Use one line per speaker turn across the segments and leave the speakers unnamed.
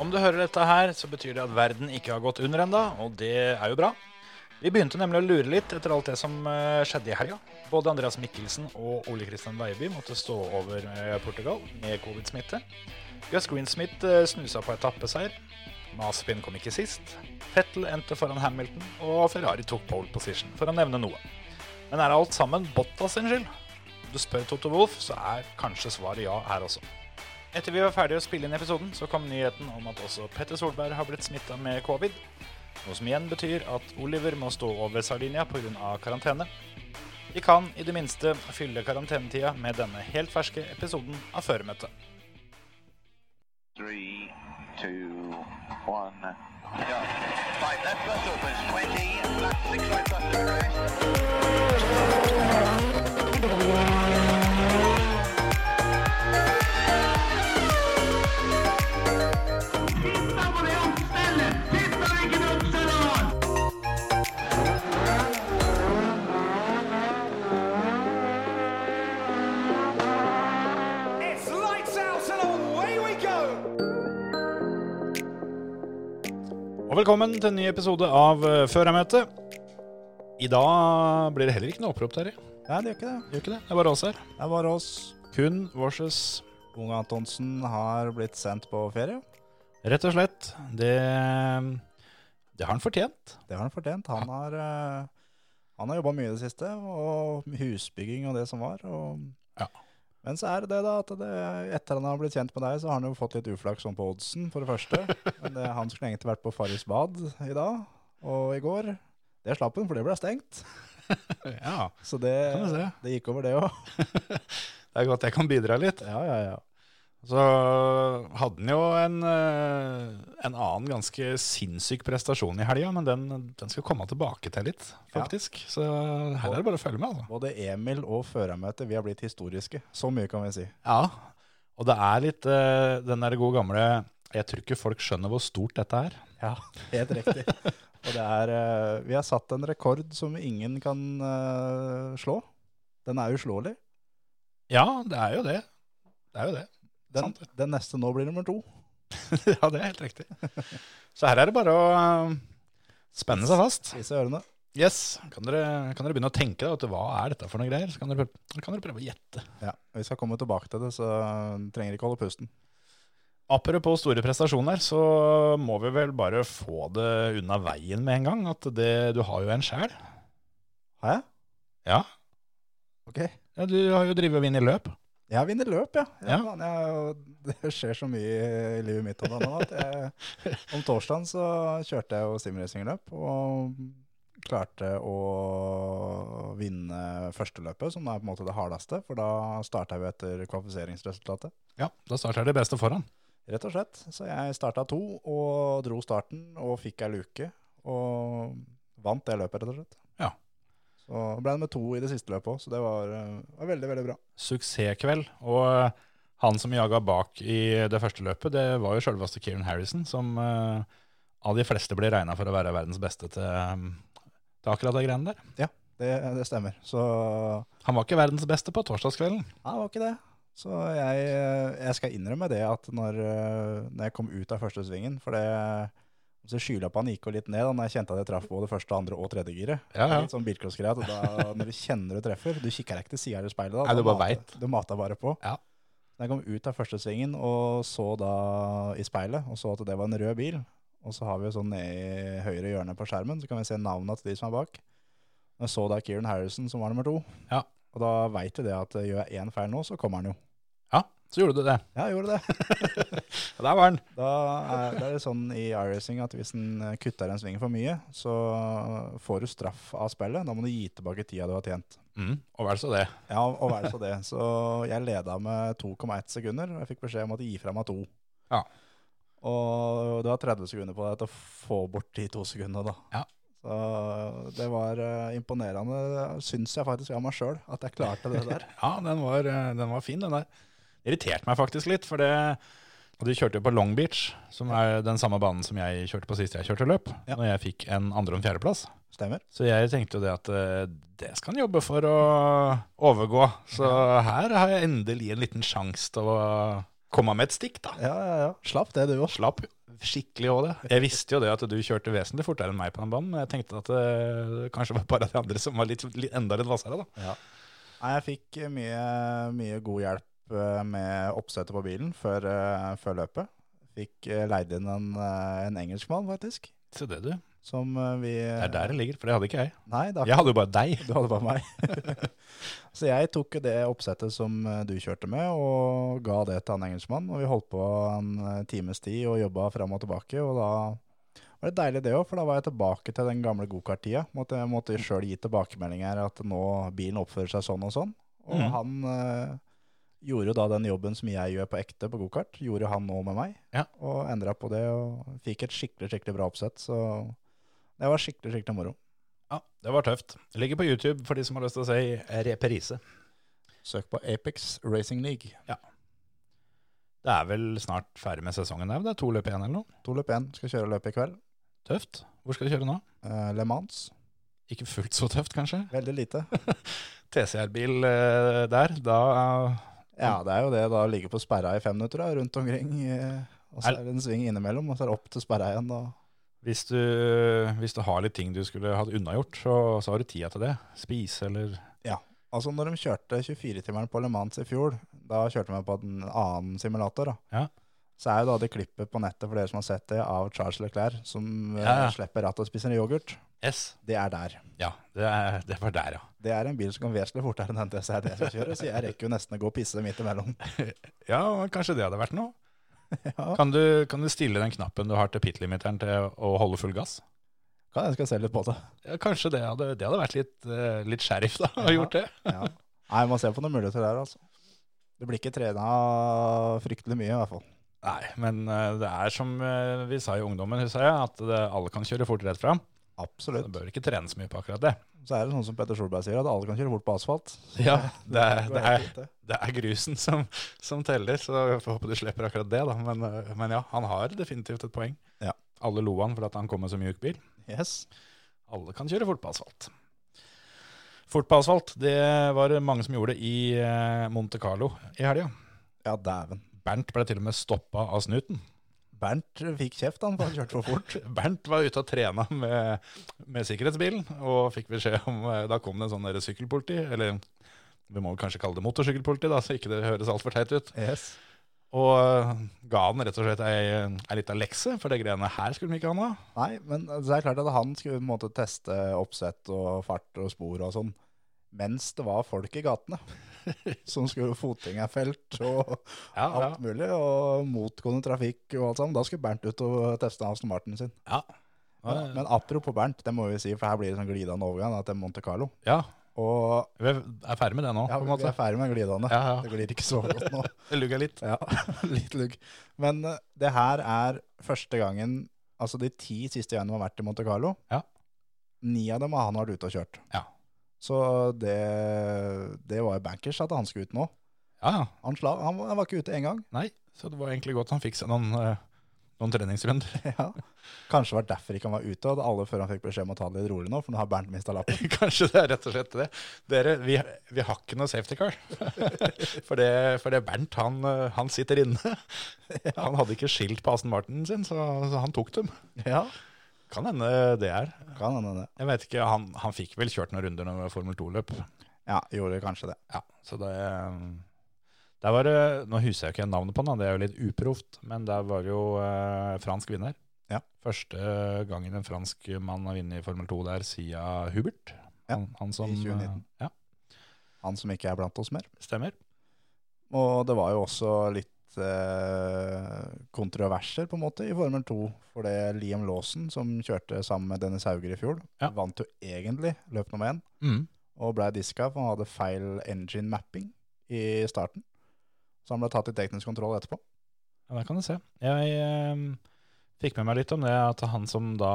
Om du hører dette her, så betyr det at verden ikke har gått under enda, og det er jo bra. Vi begynte nemlig å lure litt etter alt det som eh, skjedde i helga. Både Andreas Mikkelsen og Ole Kristian Veiby måtte stå over eh, Portugal med covid-smitte. Gus Greensmith eh, snusa på etappeseier. Maspin kom ikke sist. Fettel endte foran Hamilton, og Ferrari tok pole position, for å nevne noe. Men er alt sammen Bottas sin skyld? Om du spør Toto Wolff, så er kanskje svaret ja her også. Etter vi var ferdige å spille inn episoden, så kom nyheten om at også Petter Solberg har blitt smitta med covid. Noe som igjen betyr at Oliver må stå over Sardinia pga. karantene. Vi kan i det minste fylle karantenetida med denne helt ferske episoden av Føremøtet.
Three, two, one, go. Right, left bus opens, 20, left six right bus to rest.
It's lights out and away we go!
Og velkommen til en ny episode av eh, Førermøtet. I dag blir det heller ikke noe opprop, Terje.
Nei, det gjør ikke det.
Gjør ikke det? Det er bare oss her.
Det er bare oss.
Kun versus
Unge Antonsen har blitt sendt på ferie.
Rett og slett. Det, eh, det har han fortjent.
Det har han fortjent. Han har, eh, han har jobba mye i det siste, og husbygging og det som var. Og...
Ja.
Men så er det det, da, at det, etter han har blitt kjent med deg, så har han jo fått litt uflaks sånn på oddsen, for det første. Men det, han skulle egentlig vært på Farris bad i dag og i går. Det slapp han, for det ble stengt.
Ja,
Så det,
kan du se.
det gikk over, det òg.
Det er godt jeg kan bidra litt.
Ja, ja, ja.
Så hadde han jo en, eh, en annen ganske sinnssyk prestasjon i helga, men den, den skal komme tilbake til litt,
Ja.
faktisk. Så her er det bare å følge med, altså.
Både Emil og førermøtet, vi har blitt historiske. Så mye kan vi si.
Ja, og det er litt eh, den der gode gamle Jeg tror ikke folk skjønner hvor stort dette er.
Ja, helt riktig. Og det er, eh, vi har satt en rekord som ingen kan eh, slå. Den er uslåelig.
Ja, det er jo det. Det er jo det.
Den,
Sant
den neste nå blir nummer to.
ja, det er helt riktig. Så her er det bare å eh, spenne seg fast.
Spise ørene.
Yes. Kan dere, kan dere begynne å tenke da, vet du, hva er dette for noen greier? Så kan dere, prøve- kan dere prøve å gjette.
Ja, Vi skal komme tilbake til det, så eh, trenger ikke holde pusten.
Apropos store prestasjoner, så må vi vel bare få det unna veien med en gang. At det, du har jo en sjel.
Har jeg?
Ja.
Ok.
Ja, du har jo drevet og vunnet løp.
Jeg har vunnet løp, ja. ja,
Ja.
faen, Jeg, det skjer så mye i livet mitt om dagen at jeg, Om torsdagen så kjørte jeg jo simracingløp og klarte å vinne første løpet, som er på en måte det hardeste, for da starta vi etter kvalifiseringsresultatet.
Ja, da starter det beste foran.
Rett og slett. Så jeg starta to og dro starten og fikk ei luke. Og vant det løpet, rett og slett.
Ja.
Så ble det med to i det siste løpet òg, så det var, eh, var veldig, veldig bra.
Suksesskveld. Og eh, han som jaga bak i det første løpet, det var jo sjølveste Kieran Harrison, som eh, av de fleste blir regna for å være verdens beste til, eh, til akkurat de greiene der.
Det, det stemmer. Så
Han var ikke verdens beste på torsdagskvelden.
Nei, det var ikke det. Så jeg, eh, jeg skal innrømme det at når, eh, når jeg kom ut av første svingen For det, så skylappene gikk jo litt ned da når jeg kjente at jeg traff både første, andre og tredje giret.
Ja,
Litt sånn bilcrossgreie. at da- Når du kjenner du treffer Du kikker deg ikke til sida eller speilet. da.
Nei, du
Da
bare
mater-
vet.
Du mata bare på.
Ja.
Så Jeg kom ut av første svingen og så da i speilet og så at det var en rød bil. Og så har vi jo sånn nede i høyre hjørne på skjermen, så kan vi se navnene til de som er bak. Jeg så da Kieran Harrison, som var nummer to.
Ja.
Og da veit du det at eh, gjør jeg én feil nå, så kommer han jo.
ja, så gjorde du det.
Ja, jeg gjorde det.
Og der var han.
Da er det er det sånn i iRacing at hvis en eh, kutter en sving for mye, så eh, får du straff av spillet. Da må du gi tilbake tida du har tjent.
Mm, og vel så det.
Ja, og vær det så det. Så jeg leda med 2,1 sekunder, og jeg fikk beskjed om at gi fra meg to.
Ja.
Og du har 30 sekunder på deg til å få bort de to sekundene, da.
Ja.
Så det var eh, imponerende, syns jeg faktisk av meg sjøl, at jeg klarte det der.
Ja, den var, eh, den var fin, den der. Det irriterte meg faktisk litt, for det og de kjørte jo på Long Beach, som er den samme banen som jeg kjørte på sist jeg kjørte løp,
Ja.
når jeg fikk en andre- og en fjerdeplass.
Stemmer.
Så jeg tenkte jo det at eh, det skal han jobbe for å overgå. Så her har jeg endelig en liten sjanse til å komme med et stikk, da.
Ja, ja, ja. Slapp det, du òg.
Slapp skikkelig òg, det. Jeg visste jo det at du kjørte vesentlig fortere enn meg på den banen, men jeg tenkte at eh, det kanskje var bare de andre som var litt, litt, enda litt hvassere, da.
Nei, jeg fikk eh, mye, mye god hjelp eh, med oppsettet på bilen før, eh, før løpet. Fikk eh, leid inn en, eh, en engelskmann, faktisk.
Se det, du.
Som eh, vi
Det er der det ligger, for det hadde ikke jeg.
Nei, det er
Jeg hadde jo bare deg.
Du hadde bare meg. så jeg tok det oppsettet som eh, du kjørte med, og ga det til han engelskmannen. Og vi holdt på en eh, times tid og jobba fram og tilbake. Og da var det deilig, det òg, for da var jeg tilbake til den gamle gokart-tida. Måtte, jeg måtte sjøl gi tilbakemeldinger at nå bilen oppfører seg sånn og sånn. Og
Mhm.
han eh, gjorde jo da den jobben som jeg gjør på ekte på gokart, gjorde han nå med meg.
Ja.
Og endra på det, og fikk et skikkelig, skikkelig bra oppsett. Så det var skikkelig, skikkelig moro.
Ja, det var tøft. Det ligger på YouTube for de som har lyst til å si reprise.
Søk på Apex Racing League.
Det er vel snart ferdig med sesongen der, det er to løp igjen eller noe.
To løp igjen. Skal kjøre løpet i kveld.
Tøft. Hvor skal du kjøre nå?
Eh, Le Mans.
Ikke fullt så tøft, kanskje.
Veldig lite.
TCR-bil eh, der, da eh,
Ja, det er jo det. Da ligge på sperra i fem minutter da, rundt omkring. eh, Og så
Er-
er det en sving innimellom, og så er det opp til sperra igjen. Da.
hvis, du, hvis du har litt ting du skulle hatt unnagjort, så, så har du tida til det. Spise eller
Altså, når de kjørte 24-timeren på Le Mans i fjor, da kjørte de på en annen simulator. Da.
Ja.
Så er jo da det klippet på nettet for dere som har sett det, av Charles Leclerc som eh,
Ja, ja.
slipper rattet og spiser yoghurt.
S.
Det er der.
Ja, det, er, det var der, ja.
Det er en bil som kan vesentlig fortere enn den TCR jeg skal kjøre, så jeg rekker jo nesten å gå og pisse midt imellom.
Ja, kanskje det hadde vært noe.
Ja.
Kan du, kan du stille den knappen du har til pitlimiteren til å holde full gass?
Kan jeg skal se litt på det.
Ja, kanskje det hadde, det hadde vært litt, eh, litt sheriff da, å
Ja.
gjort det.
Ja. Nei, man ser på noen muligheter der, altså. Det blir ikke trena fryktelig mye, i hvert fall.
Nei, men eh, det er som eh, vi sa i ungdommen, husker jeg, at det, alle kan kjøre fort rett fram.
Absolutt.
Det bør ikke trene så mye på akkurat det.
Så er det sånn som Petter Solberg sier, at alle kan kjøre fort på asfalt.
Ja, det er,
går
det
helt
er,
fint, det.
det er grusen som, som teller, så jeg får håpe du slipper akkurat det da. Men, eh, men ja, han har definitivt et poeng.
Ja.
Alle lo han for at han kom med så mjuk bil.
Yes.
Alle kan kjøre fort på asfalt. Fort på asfalt, det var det mange som gjorde i eh, Monte Carlo i helga.
Ja, dæven.
Bernt ble til og med stoppa av snuten.
Bernt fikk kjeft, han, for han kjørte for fort.
Bernt var ute og trena med, med sikkerhetsbilen, og fikk beskjed om eh, Da kom det en sånn der sykkelpoliti, eller vi må vel kanskje kalle det motorsykkelpoliti, da, så ikke det høres altfor teit ut.
Yes.
Og eh, ga han rett og slett ei, ei lita lekse, for de greiene her skulle de ikke ha. noe.
Nei, men det er klart at han skulle på en måte teste oppsett og fart og spor og sånn, mens det var folk i gatene som skulle fotgjengerfelt og
Ja, ja.
alt mulig, og motgående trafikk og alt sammen. Da skulle Bernt ut og teste Aston Martin sin.
Ja.
Men, men apropos Bernt, det må vi si, for her blir det sånn glidende overgang da, til Monte Carlo.
ja,
Og
vi er ferdig med det nå,
ja,
på en
vi
måte.
er ferdig med glidende.
Ja, ja.
Det glir ikke så godt nå.
Det lugger litt.
Ja, litt lugg. Men eh, det her er første gangen, altså de ti siste gangene vi har vært i Monte Carlo,
Ja.
ni av dem har han vært ute og kjørt.
Ja.
Så det, det var jo bankers at han skulle ut nå.
Ja, ja.
Han, sla, han, var- han var ikke ute en gang.
Nei, så det var egentlig godt han fikk seg noen, eh, noen treningsrunder.
Ja. Kanskje det var derfor ikke han var ute, og alle før han fikk beskjed om å ta det litt rolig nå, for nå har Bernt mista lappen.
Kanskje det er rett og slett det. Dere, vi, vi har ikke noe safety car. for, det, for det Bernt, han, eh, han sitter inne. Han hadde ikke skilt på Aston Martin sin, så, så han tok dem.
Ja,
Kan hende det er.
kan hende det.
Jeg vet ikke, han, han fikk vel kjørt noen runder når det var Formel 2-løp.
Ja, gjorde kanskje det.
Ja, så det... Der var det, nå husker jeg ikke navnet på den, da, det er jo litt uproft, men der var det jo eh, fransk vinner.
Ja.
Første gangen en fransk mann har vunnet i Formel 2 der, siden Hubert.
Ja,
han, han som,
i 2019.
eh, Ja,
Han som ikke er blant oss mer.
stemmer.
Og det var jo også litt eh, kontroverser på en måte i Formel 2. For det Liam Lawson, som kjørte sammen med Dennis Hauger i fjor,
Ja.
vant jo egentlig løp nummer én. Og ble diska, for han hadde feil engine mapping i starten. Så han ble tatt i teknisk kontroll etterpå.
Ja, der kan du se. Jeg eh, fikk med meg litt om det at han som da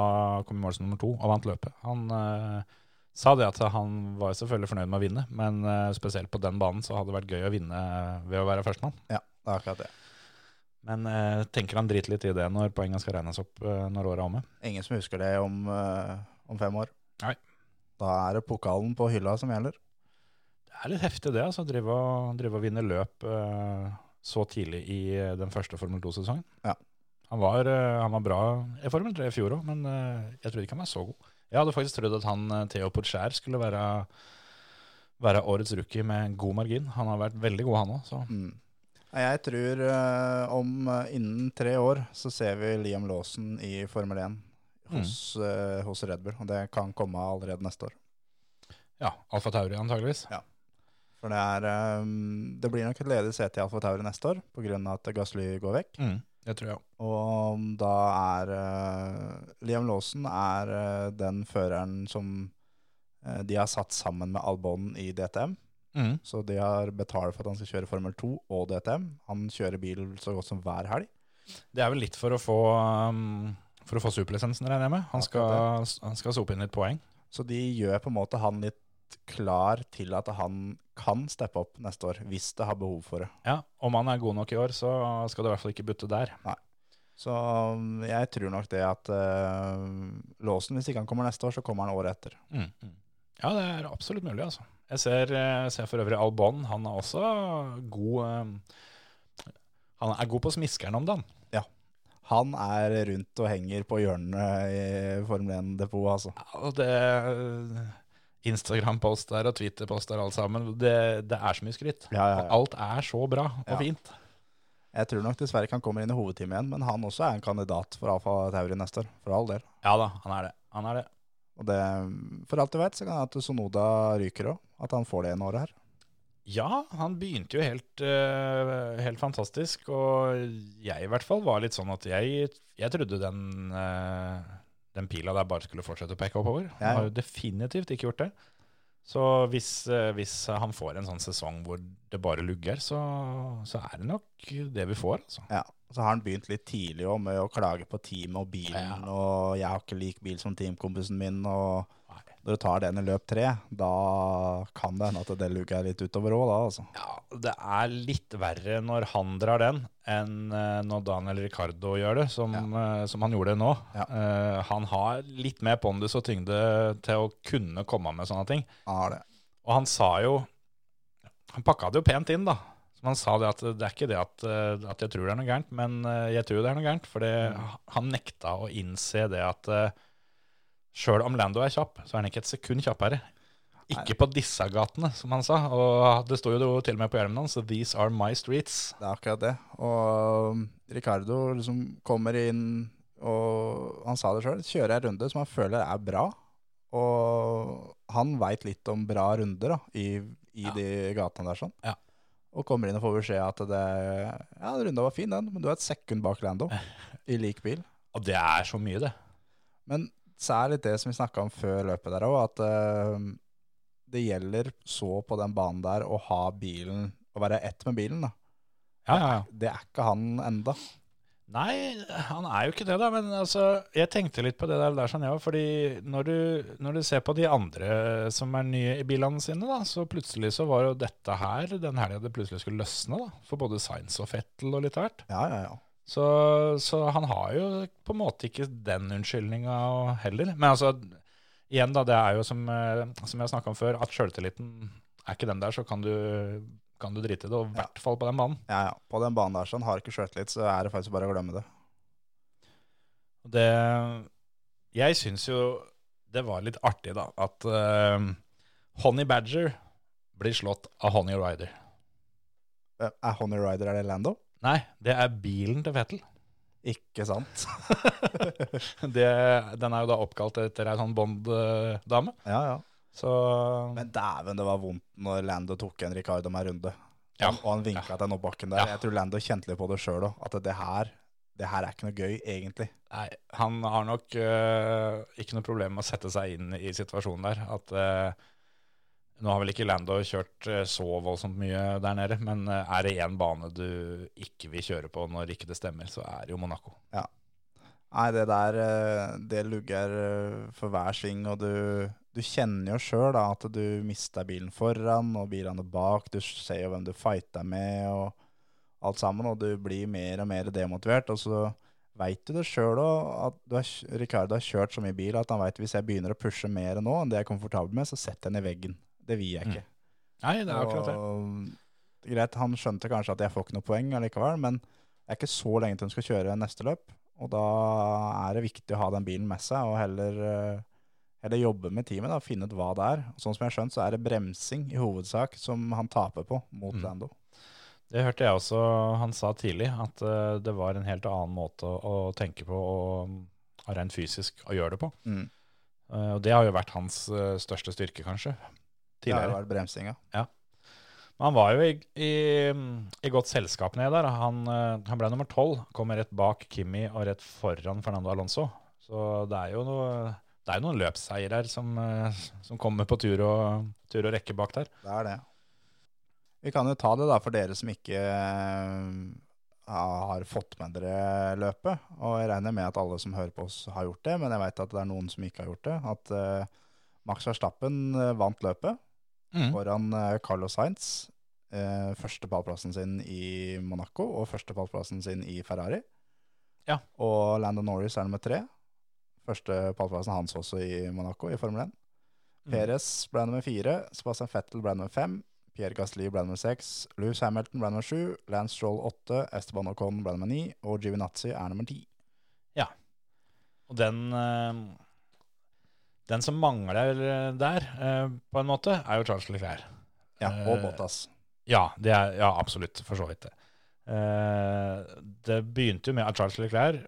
kom i mål som nummer to og vant løpet, han eh, sa det at han var selvfølgelig fornøyd med å vinne, men eh, spesielt på den banen så hadde det vært gøy å vinne ved å være førstemann.
Ja, det er akkurat det.
Men eh, tenker han driter litt i det når poengene skal regnes opp eh, når året er omme?
Ingen som husker det om, eh, om fem år.
Nei.
Da er det pokalen på hylla som gjelder.
Det er litt heftig det, altså. Drive og, drive og vinne løp eh, så tidlig i eh, den første Formel 2-sesongen.
Ja.
Han var, eh, han var bra i Formel 3 i fjor òg, men eh, jeg trodde ikke han var så god. Jeg hadde faktisk trodd at han eh, Theo Porcher skulle være, være årets rookie med god margin. Han har vært veldig god, han òg, så
Mm. Nei, Jeg tror eh, om eh, innen tre år så ser vi Liam Lawson i Formel 1 hos, eh, hos Red Bull. Og det kan komme allerede neste år.
ja, Alfa Tauri antageligvis.
For det, er, eh, det blir nok et ledig sete i Alfa Tauri neste år pga. at Gasly går vekk.
Mm, det tror jeg òg.
Og da er eh, Liam Lawson er eh, den føreren som eh, de har satt sammen med Albon i DTM.
Mm.
Så de har betalt for at han skal kjøre Formel 2 og DTM. Han kjører bil så godt som hver helg.
Det er vel litt for å få um, for å få superlisensen, regner jeg med. Han skal, han skal sope inn litt poeng.
Så de gjør på en måte han litt klar til at han kan steppe opp neste år, hvis det har behov for det.
Ja, Om han er god nok i år, så skal det i hvert fall ikke butte der.
Så um, jeg tror nok det at uh, Låsen, hvis ikke han kommer neste år, så kommer han året etter.
Mm, Ja, det er absolutt mulig, altså. Jeg ser, eh, ser for øvrig Albon. Han er også god eh, Han er god på smiskeren om dagen.
Han er rundt og henger på hjørnene i Formel 1-depot, altså.
Ja, og det Instagram-post der og Twitter-post der, alt sammen. Det, det er så mye skryt.
Ja, ja, ja.
Alt er så bra og
Ja.
fint.
Jeg tror nok dessverre ikke han kommer inn i hovedteamet igjen, men han også er en kandidat for Alfa Tauri neste år, for all del.
Ja da, han er det. Han er det.
Og det, um, for alt du vet, så kan det hende at Sonoda ryker òg. At han får det ene året her.
Ja, han begynte jo helt, eh, helt fantastisk, og jeg i hvert fall var litt sånn at jeg, jeg trodde den, eh, den pila der bare skulle fortsette å peke oppover. Han
Ja.
har jo definitivt ikke gjort det. Så hvis, eh, hvis han får en sånn sesong hvor det bare lugger, så, så er det nok det vi får, altså.
Ja, så har han begynt litt tidlig også med å klage på teamet og bilen,
Ja.
og jeg har ikke lik bil som teamkompisen min, og
Nei.
når du tar den i løp tre, da kan det hende at det luker litt utover også da, altså.
Ja, det er litt verre når han drar den, enn eh, når Daniel Ricardo gjør det, som, eh, som han gjorde nå.
Ja.
Eh, han har litt mer pondus og tyngde til å kunne komme med sånne ting.
Han har det.
Og han sa jo Han pakka det jo pent inn, da. Som han sa det at det er ikke det at, eh, at jeg tror det er noe gærent, men eh, jeg tror det er noe gærent. For han nekta å innse det at uh, sjøl om Lando er kjapp, så er han ikke et sekund kjappere. Ikke på disse gatene, som han sa. Og det sto jo til og med på hjelmen hans 'These are my streets'.
Det er akkurat det. Og um, Ricardo liksom kommer inn, og han sa det selv, kjører en runde som han føler er bra, og han vet litt om bra runder da, i, i de gatene der sånn.
Ja.
Og kommer inn og får beskjed at det, ja, runda var fin den, men du er et sekund bak Lando i lik bil.
Og det er så mye, det.
Men så er det litt det som vi snakka om før løpet der òg, at eh, det gjelder så på den banen der å ha bilen, å være ett med bilen. da.
Ja, ja, ja.
Det er ikke han enda.
Nei, han er jo ikke det, da. Men altså, jeg tenkte litt på det der, der sånn, ja, fordi når du, når du ser på de andre som er nye i bilene sine, da, så plutselig så var jo dette her den helga det plutselig skulle løsne, da. For både Sainz og Fettel og litt av hvert.
Ja, ja, ja.
Så, så han har jo på en måte ikke den unnskyldninga heller. Men altså, igjen da, det er jo som, eh, som jeg har snakka om før, at sjøltilliten er ikke den der, så kan du, kan du drite i det. Og i
Ja.
hvert fall på den banen.
ja, ja. På den banen der sånn, har ikke sjøltillit, så er det faktisk bare å glemme det.
Og Det, jeg syns jo det var litt artig, da, at eh, Honey Badger blir slått av Honey Rider.
Eh, Er Honey Rider er det Lando?
Nei, det er bilen til Vettel.
Ikke sant?
Det, den er jo da oppkalt etter ei sånn Bond-dame.
Ja, ja.
Så
Men dæven, det var vondt når Lando tok en Ricardo med en runde.
Ja.
Og han vinka til den oppbakken der.
Ja.
Jeg tror Lando kjente litt på det sjøl òg, at det her, det her er ikke noe gøy, egentlig.
nei, han har nok eh, ikke noe problem med å sette seg inn i situasjonen der. At eh, nå har vel ikke Lando kjørt eh, så voldsomt mye der nede, men eh, er det én bane du ikke vil kjøre på når ikke det stemmer, så er det jo Monaco.
Nei, det der eh, det lugger eh, for hver sving, og du, du kjenner jo sjøl at du mister bilen foran og bilene bak. Du ser jo hvem du fighter med og alt sammen, og du blir mer og mer demotivert. Og så veit du det sjøl òg, at du har, kj- Ricardo har kjørt så mye bil at han veit hvis jeg begynner å pushe mer nå enn det jeg er komfortabel med, så setter jeg den i veggen. Det vil jeg ikke.
Nei, det er akkurat det.
Og greit, han skjønte kanskje at jeg får ikke noe poeng allikevel, men det er ikke så lenge til hun skal kjøre neste løp. Og da er det viktig å ha den bilen med seg, og heller, eh, heller jobbe med teamet. da, Finne ut hva det er. Og sånn som jeg har skjønt, så er det bremsing i hovedsak som han taper på mot
Mm.
Lando.
Det hørte jeg også han sa tidlig, at eh, det var en helt annen måte å, å tenke på og og rent fysisk å gjøre det på.
Mm.
Eh, og det har jo vært hans eh, største styrke, kanskje.
Det har
Tidligere.
jo vært bremsinga.
Men han var jo i, i, i godt selskap nede der. Han, eh, han ble nummer tolv. Kommer rett bak Kimi og rett foran Fernando Alonso. Så det er jo noe, det er jo noen løpsseier her som, eh, som kommer på tur og, tur og rekke bak der.
Det er det. Vi kan jo ta det da for dere som ikke eh, har fått med dere løpet. Og jeg regner med at alle som hører på oss har gjort det, men jeg vet at det er noen som ikke har gjort det. At eh, Max Verstappen eh, vant løpet
Mm.
foran eh, Carlos Sainz. eh, første pallplassen sin i Monaco og første pallplassen sin i Ferrari.
Ja.
Og Landon Norris er nummer tre. Første pallplassen hans også i Monaco i Formel 1.
Mm.
Perez ble nummer fire, Sebastian Vettel ble nummer fem, Pierre Gasly ble nummer seks, Lewis Hamilton ble nummer sju, Lance Stroll åtte, Esteban Ocon ble nummer ni, og Giovinazzi er nummer ti.
Og den, eh, den som mangler der, eh, på en måte, er jo Charles Leclerc.
Ja, og
Eh,
Bottas.
Ja, det er, ja absolutt. For så vidt det. Eh, det begynte jo med at Charles Leclerc,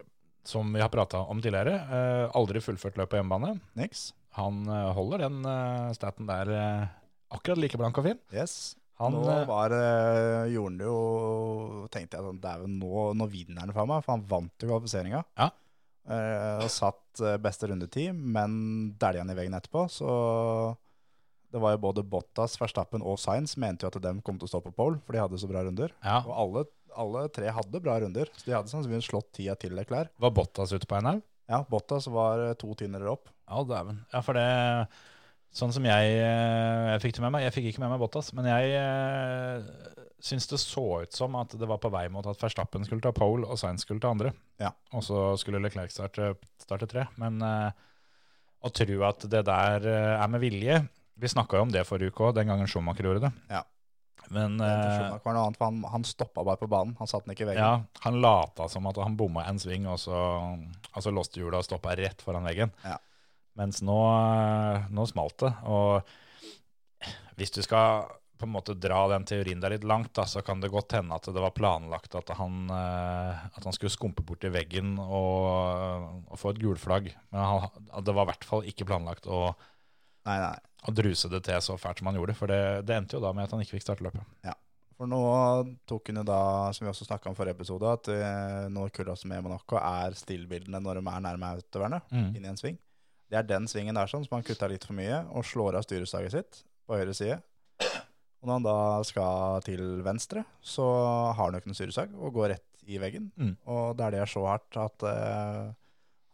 som vi har prata om tidligere, eh, aldri fullført løp på hjemmebane.
Niks.
Han eh, holder den eh, staten der eh, akkurat like blank og fin.
Yes.
Han,
nå
eh,
var, eh, gjorde han det jo Tenkte jeg sånn, dæven, nå, nå vinner han fra meg, for han vant jo kvalifiseringa.
Ja.
Eh, og satt eh, beste rundetid, men dælja han i veggen etterpå, så det var jo både Bottas, Verstappen og Sainz mente jo at dem kom til å stå på pole, for de hadde så bra runder.
ja,
Og alle, alle tre hadde bra runder, så de hadde sannsynligvis slått tida til Leclerc.
var Bottas ute på en haug?
Ja, Bottas var eh, to tynnere opp.
Ja, dæven. Ja, for det Sånn som jeg, eh, jeg fikk det med meg Jeg fikk ikke med meg Bottas, men jeg eh, syns det så ut som at det var på vei mot at Verstappen skulle ta pole, og Sainz skulle ta andre.
Ja.
Og så skulle Leclerc starte, starte tre. Men eh, å tro at det der eh, er med vilje Vi snakka jo om det forrige uke òg, den gangen Schumacher gjorde det.
Ja.
Men
Det
eh,
var noe annet, for han, han stoppa bare på banen, han satt den ikke i veggen.
ja, han lata som at han bomma en sving, og så, og så låste hjulet og stoppa rett foran veggen.
Ja.
Mens nå, eh, nå smalt det. Og hvis du skal på en måte dra den teorien der litt langt, da, så kan det godt hende at det var planlagt at han, eh, at han skulle skumpe borti veggen og, og få et gulflagg. Men han, at det var i hvert fall ikke planlagt å,
Nei, nei.
å druse det til så fælt som han gjorde. For det, det endte jo da med at han ikke fikk starte løpet.
For nå tok hun jo da, som vi også snakka om i forrige episode, at eh, nå kulla som er i Monaco, er stillbildene når de er nærme utøverne,
Mm.
inn i en sving. Det er den svingen der sånn, som han kutta litt for mye, og slår av styrestaget sitt på høyre side. Og når han da skal til venstre, så har han jo ikke noe styresag, og går rett i veggen.
Mm.
Og det er det jeg så hardt at eh,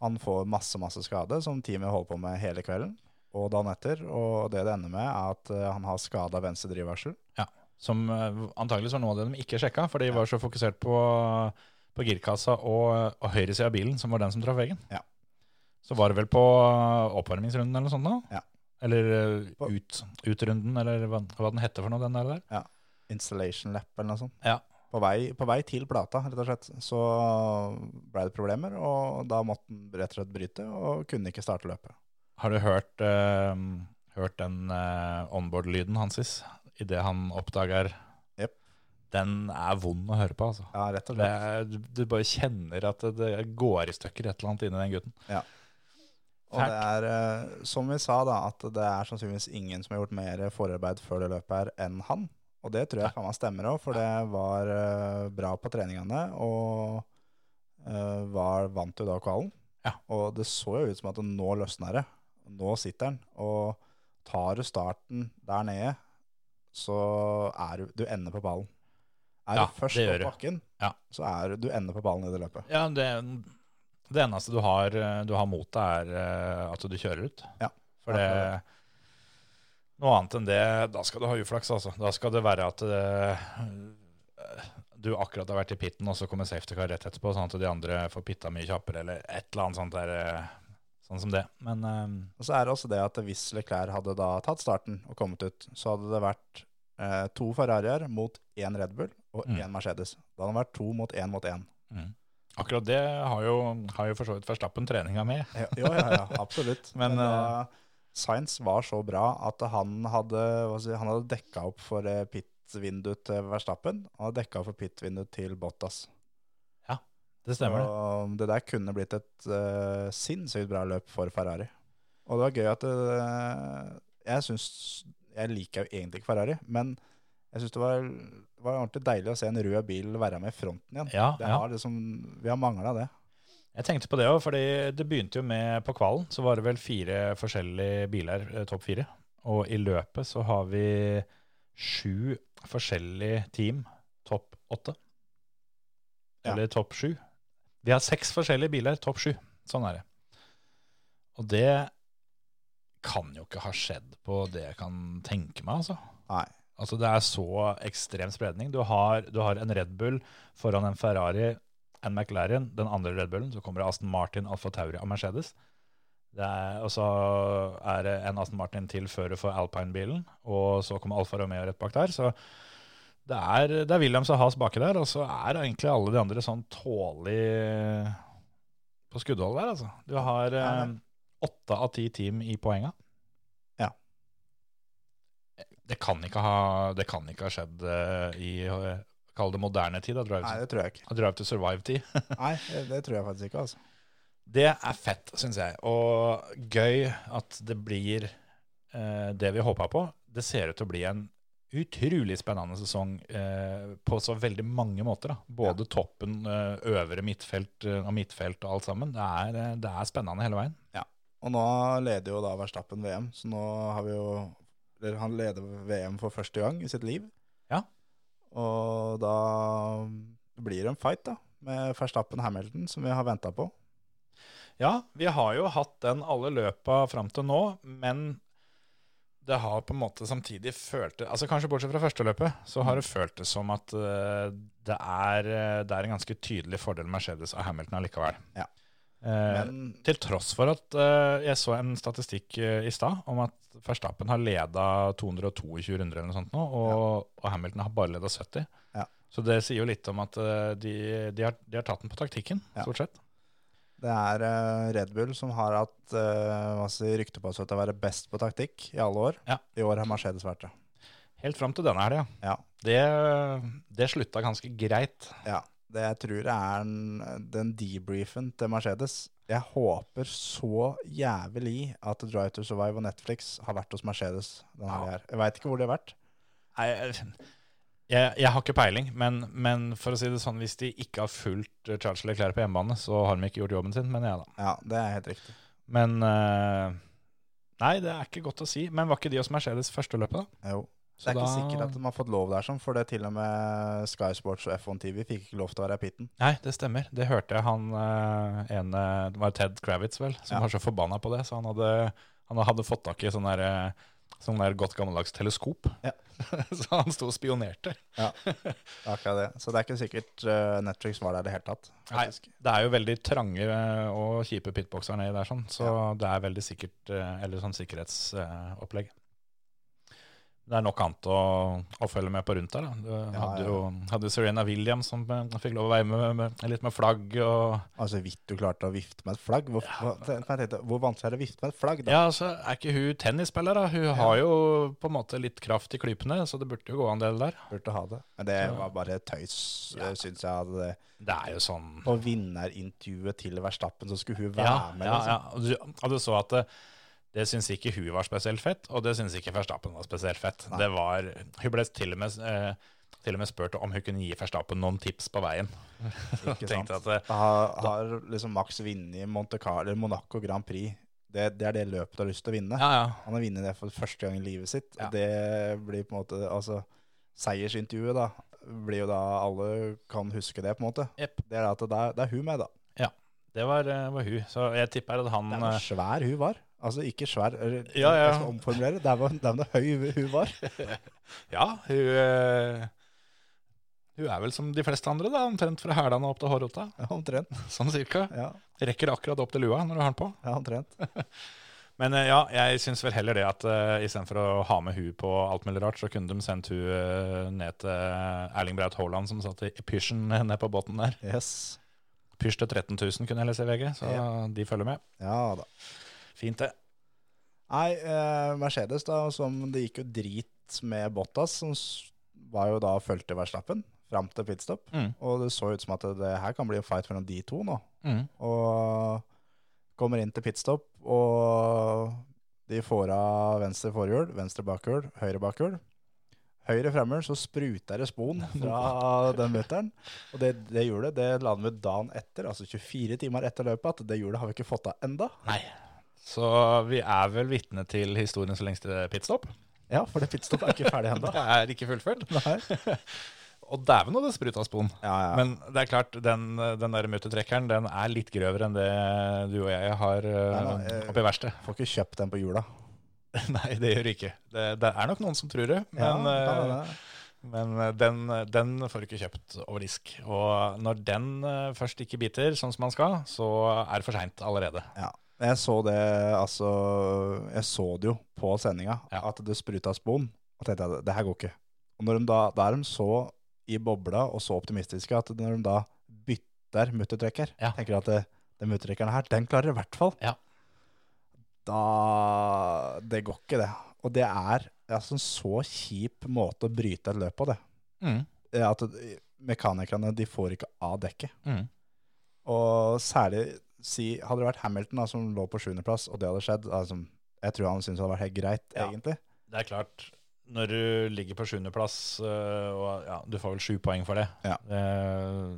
han får masse, masse skade, som teamet holder på med hele kvelden og dagen etter. Og det det ender med, er at eh, han har skada venstre drivvarsel.
Som eh, antageligvis var noe av det de ikke sjekka, for de var så fokusert på, på girkassa og, og høyresida av bilen, som var den som traff veggen.
Ja.
Så var det vel på eh, oppvarmingsrunden eller noe sånt da?
Ja.
Eller eh,
På-
ut, utrunden, eller hva, hva den heter for noe, den der. der.
installation lap eller noe sånt.
Ja.
sånn. På, vei, på vei til plata, rett og slett, så ble det problemer, og da måtte han rett og slett bryte, og kunne ikke starte løpet.
Har du hørt, eh, hørt den eh, onboard-lyden hans idet han oppdager
Jep.
Den er vond å høre på, altså.
Ja, rett og
Det
slett.
er, du, du bare kjenner at det, det går i stykker et eller annet inni den gutten.
Og det er, eh, som vi sa da, at det er sannsynligvis ingen som har gjort mer forarbeid før det løpet her enn han. Og det tror jeg kan man stemmer òg, for det var eh, bra på treningene, og eh, var, vant jo da kvalen.
Ja.
Og det så jo ut som at nå løsner det. Nå sitter han. Og tar du starten der nede, så er du Du ender på ballen. Er
Ja,
du først
det
på
gjør du.
bakken,
Ja.
så er du, du ender på ballen i det løpet.
Ja, det, det eneste du har, eh, du har mot deg, er eh, at du kjører ut.
Ja,
For det Noe annet enn det, da skal du ha uflaks, altså. Da skal det være at eh, du akkurat har vært i pitten, og så kommer safety car rett etterpå, sånn at de andre får pitta mye kjappere, eller et eller annet sånt der. eh, Sånn som det. Men eh,
Og så er det også det at hvis Leclerc hadde da tatt starten og kommet ut, så hadde det vært eh, to Ferrarier mot én Red Bull og
Mm.
én Mercedes. Da hadde det vært to mot én mot én.
Mm. Akkurat det har jo, har jo for så vidt Verstappen treninga med.
Ja, jo, ja, ja, absolutt.
Men,
Men, eh, Sainz var så bra at han hadde, hva skal jeg si, han hadde dekka opp for eh, pit-vinduet til Verstappen, og han dekka for pit-vinduet til Bottas.
Det stemmer, det.
Og det der kunne blitt et eh, sinnssykt bra løp for Ferrari. Og det var gøy at det, Jeg syns Jeg liker jo egentlig ikke Ferrari, men jeg syns det var, var ordentlig deilig å se en rød bil være med i fronten igjen.
Ja,
Det
ja.
har liksom, vi har mangla det.
Jeg tenkte på det òg, fordi det begynte jo med på kvalen. Så var det vel fire forskjellige biler, eh, topp fire. Og i løpet så har vi sju forskjellige team, topp åtte.
Ja.
Eller topp sju. Vi har seks forskjellige biler, topp sju. Sånn er det. Og det kan jo ikke ha skjedd på det jeg kan tenke meg, altså.
Nei.
Altså Det er så ekstrem spredning. Du har, du har en Red Bull foran en Ferrari, en McLaren, den andre Red Bullen, så kommer det Aston Martin, Alfa Tauri og Mercedes. Det er, og så er det en Aston Martin til før du får Alpine-bilen, og så kommer Alfa Romeo rett bak der. Så det er, det er Williams og Haas baki der, og så er egentlig alle de andre sånn tålelig på skuddhold der, altså. Du har eh, åtte av ti team i poenga.
Ja.
Det kan ikke ha, det kan ikke ha skjedd eh, i eh, Kall det moderne tid, da. Drive,
Nei, det tror jeg ikke.
to- drive to survive-tid.
Nei, det, det tror jeg faktisk ikke, altså.
Det er fett, syns jeg. Og gøy at det blir eh, det vi håpa på. Det ser ut til å bli en utrolig spennende sesong eh, på så veldig mange måter. Da. Både toppen, eh, øvre midtfelt eh, og midtfelt og alt sammen. Det er, eh, det er spennende hele veien.
Og nå leder jo da Verstappen VM, så nå har vi jo eller Han leder VM for første gang i sitt liv.
Ja.
Og da blir det en fight, da, med Verstappen Hamilton, som vi har venta på.
Ja, vi har jo hatt den alle løpa fram til nå, men det har på en måte samtidig følt det, altså Kanskje bortsett fra første løpet, så har det
Mm.
følt det som at eh, det, er, eh, det er en ganske tydelig fordel Mercedes og Hamilton allikevel.
Ja.
Eh,
Men
til tross for at eh, jeg så en statistikk eh, i stad om at Verstappen har leda 222 runder eller noe sånt nå, og, og Hamilton har bare leda 70.
Ja.
Så det sier jo litt om at eh, de, de, har, de har tatt den på taktikken,
Ja.
stort sett.
det er eh, Red Bull som har hatt eh, hva skal jeg si, rykte på seg til å være best på taktikk i alle år.
Ja.
I år har Mercedes vært det.
Helt fram til denne helga.
Ja.
Det, det slutta ganske greit.
Ja, det jeg tror er den, den debriefen til Mercedes. Jeg håper så jævlig at Drive to Survive og Netflix har vært hos Mercedes. Denne
Ja.
helgen her. Jeg veit ikke hvor de har vært.
Nei, jeg, jeg, jeg har ikke peiling, men, men for å si det sånn, hvis de ikke har fulgt Charles Leclerc på hjemmebane, så har de ikke gjort jobben sin, mener jeg da.
Ja, det er helt riktig.
Men eh, Nei, det er ikke godt å si. Men var ikke de hos Mercedes første løpet, da?
Jo.
Så
Det er ikke
da-
sikkert at de har fått lov der, sånn, for det er til og med Sky Sports og F1 TV fikk ikke lov til å være i pitten.
Nei, det stemmer. Det hørte jeg han eh, ene Det var Ted Kravitz, vel, som
Ja.
var så forbanna på det. Så han hadde, han hadde fått tak i sånn der, eh, sånn der godt gammeldags teleskop.
Ja.
så han sto og spionerte.
Det er Akkurat det. Så det er ikke sikkert eh, Netflix var der i det hele tatt.
Nei,
faktisk.
det er jo veldig trange eh, og kjipe pitboxer nedi der, sånn, så det er veldig sikkert eh, Eller sånn sikkerhetsopplegg. Det er nok annet å, å følge med på rundt der. Da. Du
Ja, ja.
hadde jo hadde Serena Williams som eh, fikk lov å være med, med, med litt med flagg og
Altså, vidt du klarte å vifte med et flagg. Hvor, hva- jeg tenkte, hvor vanskelig er det å vifte med et flagg, da?
Ja, altså, er ikke hun tennisspiller, da? Hun har jo på en måte litt kraft i klypene, så det burde jo gå en del der.
Burde ha det. Men det var bare tøys, ja. syns jeg. hadde det.
Det er jo sånn
på vinnerintervjuet til Verstappen, så skulle hun være
Ja,
med.
ja,
liksom.
ja. Og du, og du så at det, det syns ikke hun var spesielt fett, og det syns ikke Verstappen var spesielt fett. Det var, hun ble til og, med, eh, til og med spurt om hun kunne gi Verstappen noen tips på veien.
Ikke sant?
Tenkte at eh,
Da har, har liksom Max vunnet Monte Carlo eller Monaco Grand Prix. Det, det er det løpet du har lyst til å vinne.
ja, ja.
Han har vunnet det for første gang i livet sitt.
Ja.
Og det blir på en måte Altså, seiersintervjuet, da, blir jo da alle kan huske det, på en måte.
Jepp.
Det er at det er, det er hun med, da.
Det var, eh, var hun. Så jeg tipper at han
Det er hvor
eh,
svær hun var. Altså ikke svær, eller,
Ja, ja.
jeg skal omformulere. Det er hvor det er hvor høy hun var.
Ja, hun eh, Hun er vel som de fleste andre, da, omtrent fra hælene opp til hårrota.
Omtrent.
Sånn cirka.
Ja,
Rekker akkurat opp til lua når du har den på.
ja omtrent.
Men eh, ja, jeg syns vel heller det at uh, istedenfor å ha med hun på alt mulig rart, så kunne de sendt hun eh, ned til Erling Braut Haaland, som satt i pysjen nede på båten der.
Yes.
Pysj til 13 000 kunne jeg lese i VG, så
Ja.
de følger med.
Ja da.
Fint, det.
Nei, eh, Mercedes da, som det gikk jo drit med Bottas, som s- var jo da fulgte Verstappen fram til pitstop.
Mm.
Og det så ut som at det her kan bli en fight mellom de to nå.
Mm.
Og kommer inn til pitstop, og de får av venstre forhjul, venstre bakhjul, høyre bakhjul. Høyre fremhjul, så spruter det spon fra den mutteren. Og det, det hjulet det lander vi dagen etter, altså 24 timer etter løpet, at det hjulet har vi ikke fått av enda.
Så vi er vel vitne til historiens lengste pitstop.
Ja, for det pitstop er ikke ferdig enda.
Det er ikke fullført.
Nei.
Og dæven, og det spruta spon.
Ja, ja.
Men det er klart, den, den der muttertrekkeren den er litt grøvere enn det du og jeg har
Nei,
uh,
nei, eh,
oppe i verkstedet.
Får ikke kjøpt den på jula.
Nei, det gjør det ikke. Det, det er nok noen som tror det, men,
ja,
eh,
kan hende.
men eh, den, den får du ikke kjøpt over disk. Og når den eh, først ikke biter sånn som man skal, så er det for seint allerede.
ja. Jeg så det altså, Jeg så det jo på sendinga,
Ja.
at det spruta spon. Og tenkte jeg det her går ikke. Og når de da, da er de så i bobla og så optimistiske at når de da bytter muttertrekker,
Ja.
tenker de at det, den muttertrekkeren her, den klarer de i hvert fall.
Ja.
Da Det går ikke, det. Og det er altså, en så kjip måte å bryte et løp på, det.
Mm.
Det er At mekanikerne de får ikke av dekket.
Mm.
Og særlig si, hadde det vært Hamilton da, som lå på sjuendeplass, og det hadde skjedd, altså, jeg tror han syntes det hadde vært helt greit,
Ja.
egentlig.
Det er klart, når du ligger på sjuendeplass, øh, og ja, du får vel sju poeng for det.
Ja.
Eh,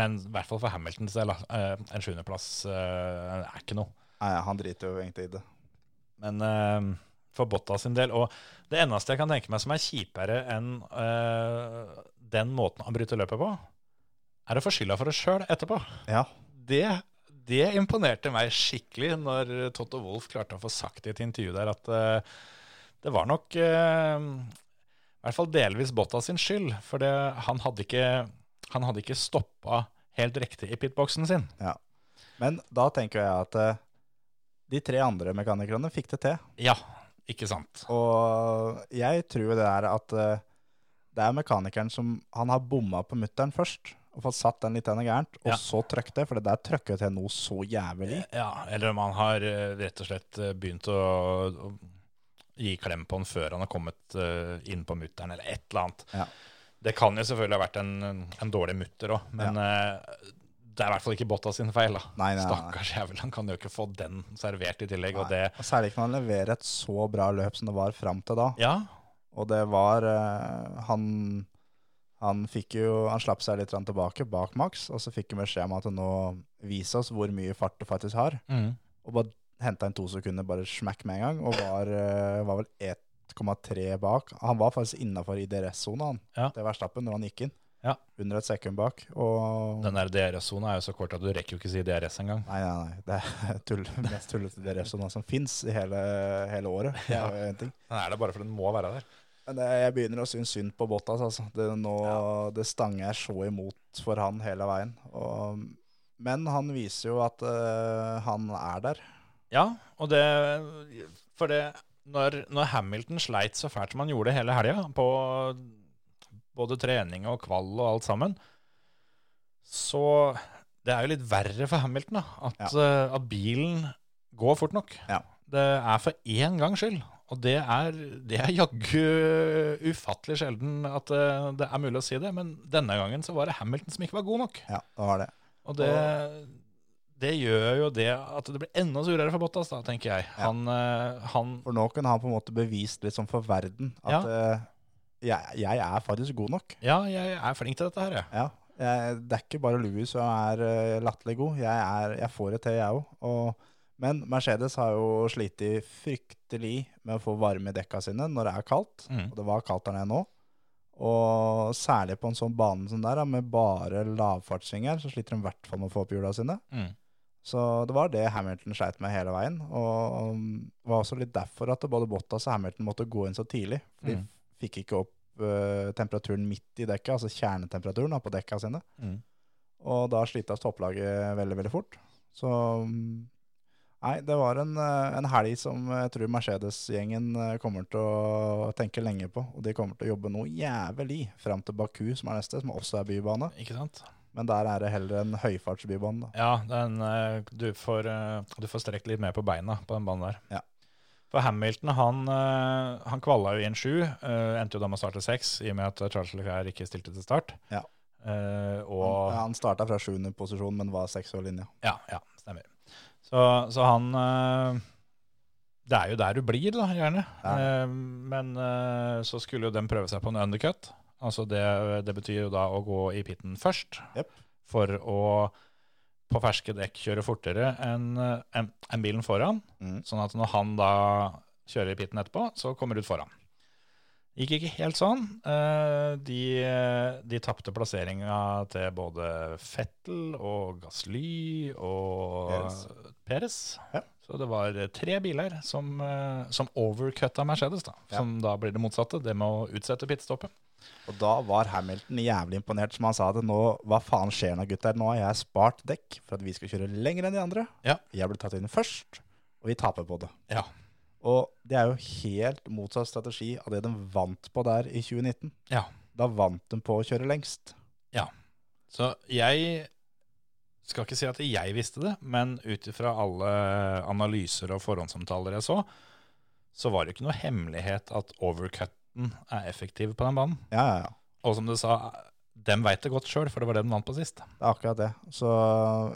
men i hvert fall for Hamiltons del, da, eh, en sjuendeplass øh, er ikke noe.
Nei, han driter jo egentlig i det.
Men eh, for Bottas sin del, og det eneste jeg kan tenke meg som er kjipere enn eh, den måten han bryter løpet på, er å få skylda for det sjøl etterpå.
Ja,
Det, det imponerte meg skikkelig når Totto Wolff klarte å få sagt i et intervju der at eh, det var nok eh, i hvert fall delvis Bottas sin skyld, for det, han hadde ikke, han hadde ikke stoppa helt riktig i pitboksen sin.
men da tenker jeg at eh, de tre andre mekanikerne fikk det til,
Ja, ikke sant.
og jeg tror jo det er at eh, det er mekanikeren som, han har bomma på mutteren først, og fått satt den litt grann gærent, og
Ja.
så trøkk det, for det der trøkket til noe så jævlig.
Ja, eller om han har eh, rett og slett eh, begynt å, å gi klem på han før han har kommet eh, inn på mutteren, eller et eller annet.
Ja.
Det kan jo selvfølgelig ha vært en, en dårlig mutter òg, men eh, det er i hvert fall ikke Bottas sin feil. da.
Nei, nei, nei.
Stakkars jævel, han kan jo ikke få den servert i tillegg. og det...
Og særlig ikke når han leverer et så bra løp som det var fram til da.
Ja,
Og det var eh, han, han fikk jo Han slapp seg litt grann tilbake bak Max, og så fikk han beskjed om at nå vis oss hvor mye fart du faktisk har.
mm.
Og bare henta inn to sekunder, bare smack med en gang, og var, eh, var vel 1,3 bak. Han var faktisk innafor i DRS-sona, han.
Ja.
Det var stappen når han gikk inn.
Ja.
Under et sekund bak. Og
Den der DRS-sona er jo så kort at du rekker jo ikke si DRS engang.
Nei, nei, nei. Det er tull, mest tullete DRS-sona som fins i hele, hele året. Det er jo en ting.
Den er det bare for den må være der.
Men det, jeg begynner å synes synd på Bottas. Altså. Det, nå, det stanger så imot for han hele veien. Og, men han viser jo at eh, han er der.
Ja, og det For det når, når Hamilton sleit så fælt som han gjorde hele helga, på både trening og kvall og alt sammen, så Det er jo litt verre for Hamilton, da. At, eh, at bilen går fort nok.
Ja.
Det er for én gangs skyld. Og det er, det er jaggu ufattelig sjelden at eh, det er mulig å si det, men denne gangen så var det Hamilton som ikke var god nok.
Ja, det var det.
Og det, det gjør jo det at det blir enda surere for Bottas, da, tenker jeg. Han, eh, han
For nå kunne han på en måte bevist litt sånn for verden at
Ja.
eh, jeg, jeg er faktisk god nok.
Ja, jeg er flink til dette her, jeg.
Ja. Jeg, det er ikke bare Louis som er eh, latterlig god. Jeg, er, jeg får det til, jeg òg. Men Mercedes har jo slitt fryktelig med å få varme i dekka sine når det er kaldt.
Mm.
Og det var kaldt der nede nå. Og særlig på en sånn bane som der, da, med bare lavfartssvinger, så sliter de i hvert fall med å få opp hjula sine.
Mm.
Så det var det Hamilton sleit med hele veien. Og um, det var også litt derfor at både Bottas og Hamilton måtte gå inn så tidlig. For de
Mm.
fikk ikke opp eh, temperaturen midt i dekka, altså kjernetemperaturen da, på dekka sine.
Mm.
Og da slites topplaget veldig, veldig fort. Så um, Nei, det var en, eh, en helg som jeg tror Mercedes-gjengen eh, kommer til å tenke lenge på. Og de kommer til å jobbe noe jævlig fram til Baku, som er neste, som også er bybane.
Ikke sant?
Men der er det heller en høyfartsbybane, da.
Ja, den, eh, du, får, eh, du får strekt litt mer på beina på den banen der.
Ja.
For Hamilton han, eh, han kvala jo inn sju, eh, endte jo da med å starte seks, i og med at Charles Leclerc ikke stilte til start.
Ja.
Eh,
Han,
og,
ja, han starta fra sjuende posisjon, men var seks år linja.
ja, ja, stemmer. Så, så han eh, Det er jo der du blir, da, gjerne.
Ja.
Eh, men eh, så skulle jo den prøve seg på en undercut. Altså det, det betyr jo da å gå i pitten først.
Jep.
For å på ferske dekk kjøre fortere enn eh, enn- enn bilen foran.
Mm.
Sånn at når han da kjører i pitten etterpå, så kommer du ut foran. Gikk ikke helt sånn. Eh, De, de tapte plasseringa til både Fettel og Gasly og Perez.
Perez. Ja.
Så det var tre biler som, eh, som overcutta Mercedes, da.
Ja.
Som da blir det motsatte, det med å utsette pitstoppet.
Og da var Hamilton jævlig imponert, som han sa det. Nå, hva faen skjer nå, gutter? Nå har jeg spart dekk for at vi skal kjøre lenger enn de andre.
Ja.
Jeg ble tatt inn først, og vi taper på det.
Ja.
Og det er jo helt motsatt strategi av det de vant på der i 2019.
Ja.
Da vant de på å kjøre lengst.
Så jeg skal ikke si at jeg visste det, men ut ifra alle analyser og forhåndsomtaler jeg så, så var det ikke noe hemmelighet at overcutten er effektiv på den banen.
Ja, ja, ja.
Og som du sa, dem veit det godt sjøl, for det var det den vant på sist.
Det er akkurat det. Så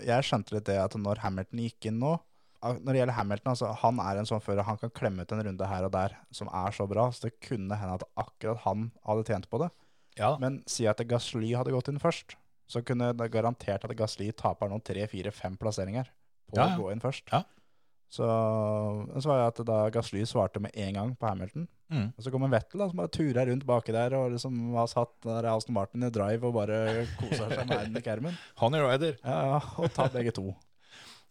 jeg skjønte litt det at når Hamilton gikk inn nå al- Når det gjelder Hamilton, altså, han er en sånn fører. Han kan klemme ut en runde her og der som er så bra. Så det kunne hende at akkurat han hadde tjent på det.
Ja,
Men si at Gasly hadde gått inn først, så kunne det garantert at Gasly taper noen tre, fire, fem plasseringer på
Ja, ja.
å gå inn først.
Ja.
Så, så var det at da Gasly svarte med en gang på Hamilton,
Mm.
og så kommer Vettel da, som bare turer rundt baki der og liksom har satt den der Aston Martin i drive og bare koser seg med den i kermen.
Honey Rider.
Ja, ja, og tar begge to.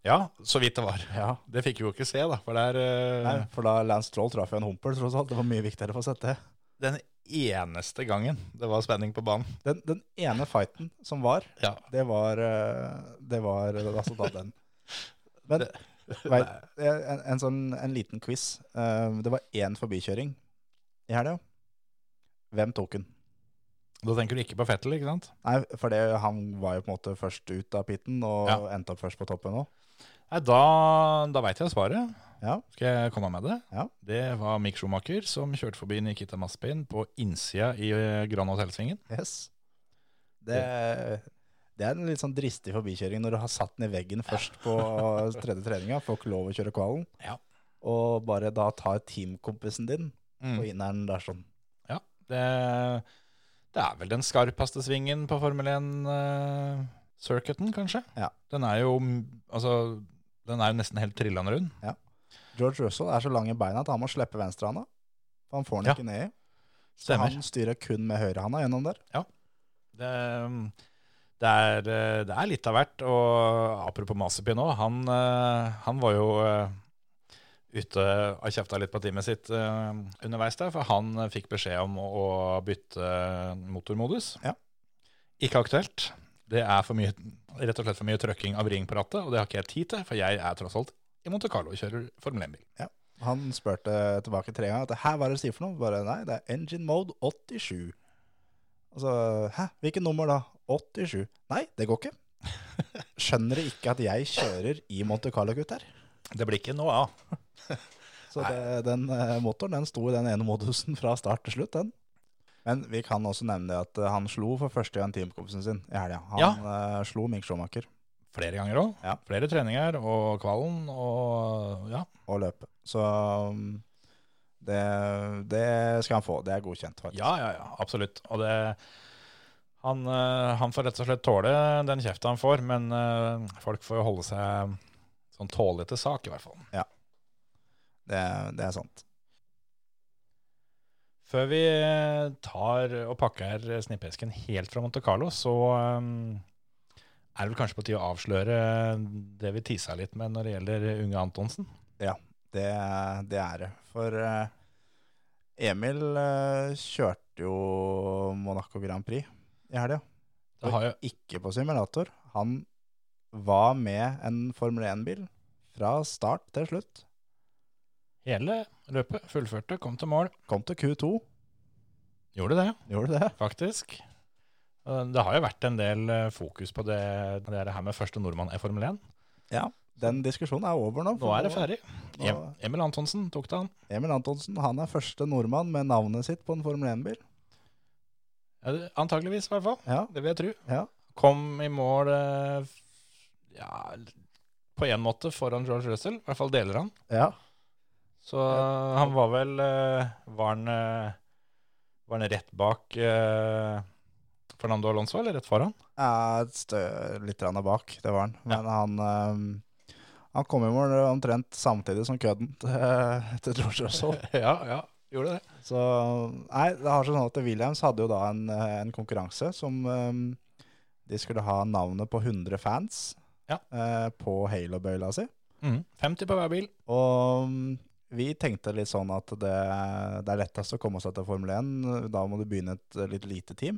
Ja, så vidt det var.
Ja.
Det fikk vi jo ikke se, da. For det er eh,
Nei, for da Lance Stroll traff jo en humpel, tross alt. Det var mye viktigere for å sette.
den eneste gangen det var spenning på banen.
Den, den ene fighten som var,
Ja.
det var, eh, det var eh, altså da den. Men vei, en, en, sånn, en liten quiz. Eh, Det var én forbikjøring i helga. Hvem tok den?
Da tenker du ikke på Fettel, ikke sant?
Nei, for det, han var jo på en måte først ut av pitten og
Ja.
endte opp først på toppen òg.
Nei, da, da veit jeg svaret.
Ja.
Skal jeg komme med det?
Ja.
Det var Mick Schumacher som kjørte forbi Nikita Maspin på innsida i eh, Grand Hotel-svingen.
Yes. Det, det er en litt sånn dristig forbikjøring når du har satt den i veggen først på tredje treninga, får ikke lov å kjøre kvalen,
Ja.
og bare da tar teamkompisen din på
Mm.
inneren der sånn.
Ja, det, det er vel den skarpeste svingen på Formel 1-circuiten, kanskje?
Ja.
Den er jo mm, altså, den er jo nesten helt trillende rund.
George Russell er så lang i beina at han må slippe venstrehanda. for Han får den
Ja.
ikke ned i. Så
Stemmer.
han styrer kun med høyrehanda gjennom der.
Det, um, det, er, eh, det er litt av hvert. Og apropos Masipi nå, han, eh, han var jo eh, ute og kjefta litt på teamet sitt eh, underveis der, for han eh, fikk beskjed om å, å bytte motormodus.
Ja.
Ikke aktuelt. Det er for mye, rett og slett for mye trøkking av ring på rattet, og det har ikke jeg tid til, for jeg er tross alt i Monte Carlo og kjører Formel 1-bil.
Han spurte tilbake tre ganger at her, hva er det du sier for noe? Bare nei, det er engine mode 87. Og så hæ, hvilket nummer da? 87. Nei, det går ikke. Skjønner dere ikke at jeg kjører i Monte Carlo, gutter?
Det blir ikke noe av.
Så det, den eh, motoren den sto i den ene modusen fra start til slutt, den. Men vi kan også nevne det at eh, han slo for første gang teamkompisen sin i helga. Han eh, slo Mink Schumacher
Flere ganger òg.
Ja.
Flere treninger og kvalen og ja.
og løpe. Så um, det, det skal han få. Det er godkjent, faktisk.
Ja, ja, ja, absolutt. Og det, han, eh, han får rett og slett tåle den kjefta han får, men eh, folk får jo holde seg sånn tålete sak, i hvert fall.
Det, det er sant.
Før vi eh, tar og pakker snippesken helt fra Monte Carlo, så eh, er det vel kanskje på tide å avsløre det vi tisa litt med når det gjelder unge Antonsen.
Det, det er det. For eh, Emil eh, kjørte jo Monaco Grand Prix i helga.
Det har jo
Ikke på simulator. Han var med en Formel 1-bil fra start til slutt.
hele løpet, fullførte, kom til mål.
Kom til Q2,
Gjorde det,
gjorde det.
faktisk. Eh, Og Det har jo vært en del eh, fokus på det, det der her med første nordmann i Formel 1.
Ja, den diskusjonen er over nå. for
Nå er det ferdig.
nå-
Em Emil Antonsen tok det, han.
Emil Antonsen han er første nordmann med navnet sitt på en Formel 1-bil.
Ja, det- Antageligvis, i hvert fall.
Ja,
Det vil jeg tro.
ja.
Kom i mål eh, ja, på én måte foran George Russell, i hvert fall deler han.
ja.
Så han var vel eh, Var han, eh, var han rett bak eh, Fernando Alonso, eller rett foran?
Ja, et stø, litt grann bak, det var han. Men han, ehm, han kom i mål omtrent samtidig som kødden til, til George Russell.
ja, ja, gjorde det.
Så nei, det har seg sånn at Williams hadde jo da en, eh, en konkurranse som ehm, de skulle ha navnet på 100 fans
Ja.
eh, på Halo-bøyla si.
Mhm. 50 på hver bil.
Og mm, vi tenkte litt sånn at det, det er lettest å komme seg til Formel 1. Da må du begynne et eh, litt lite team.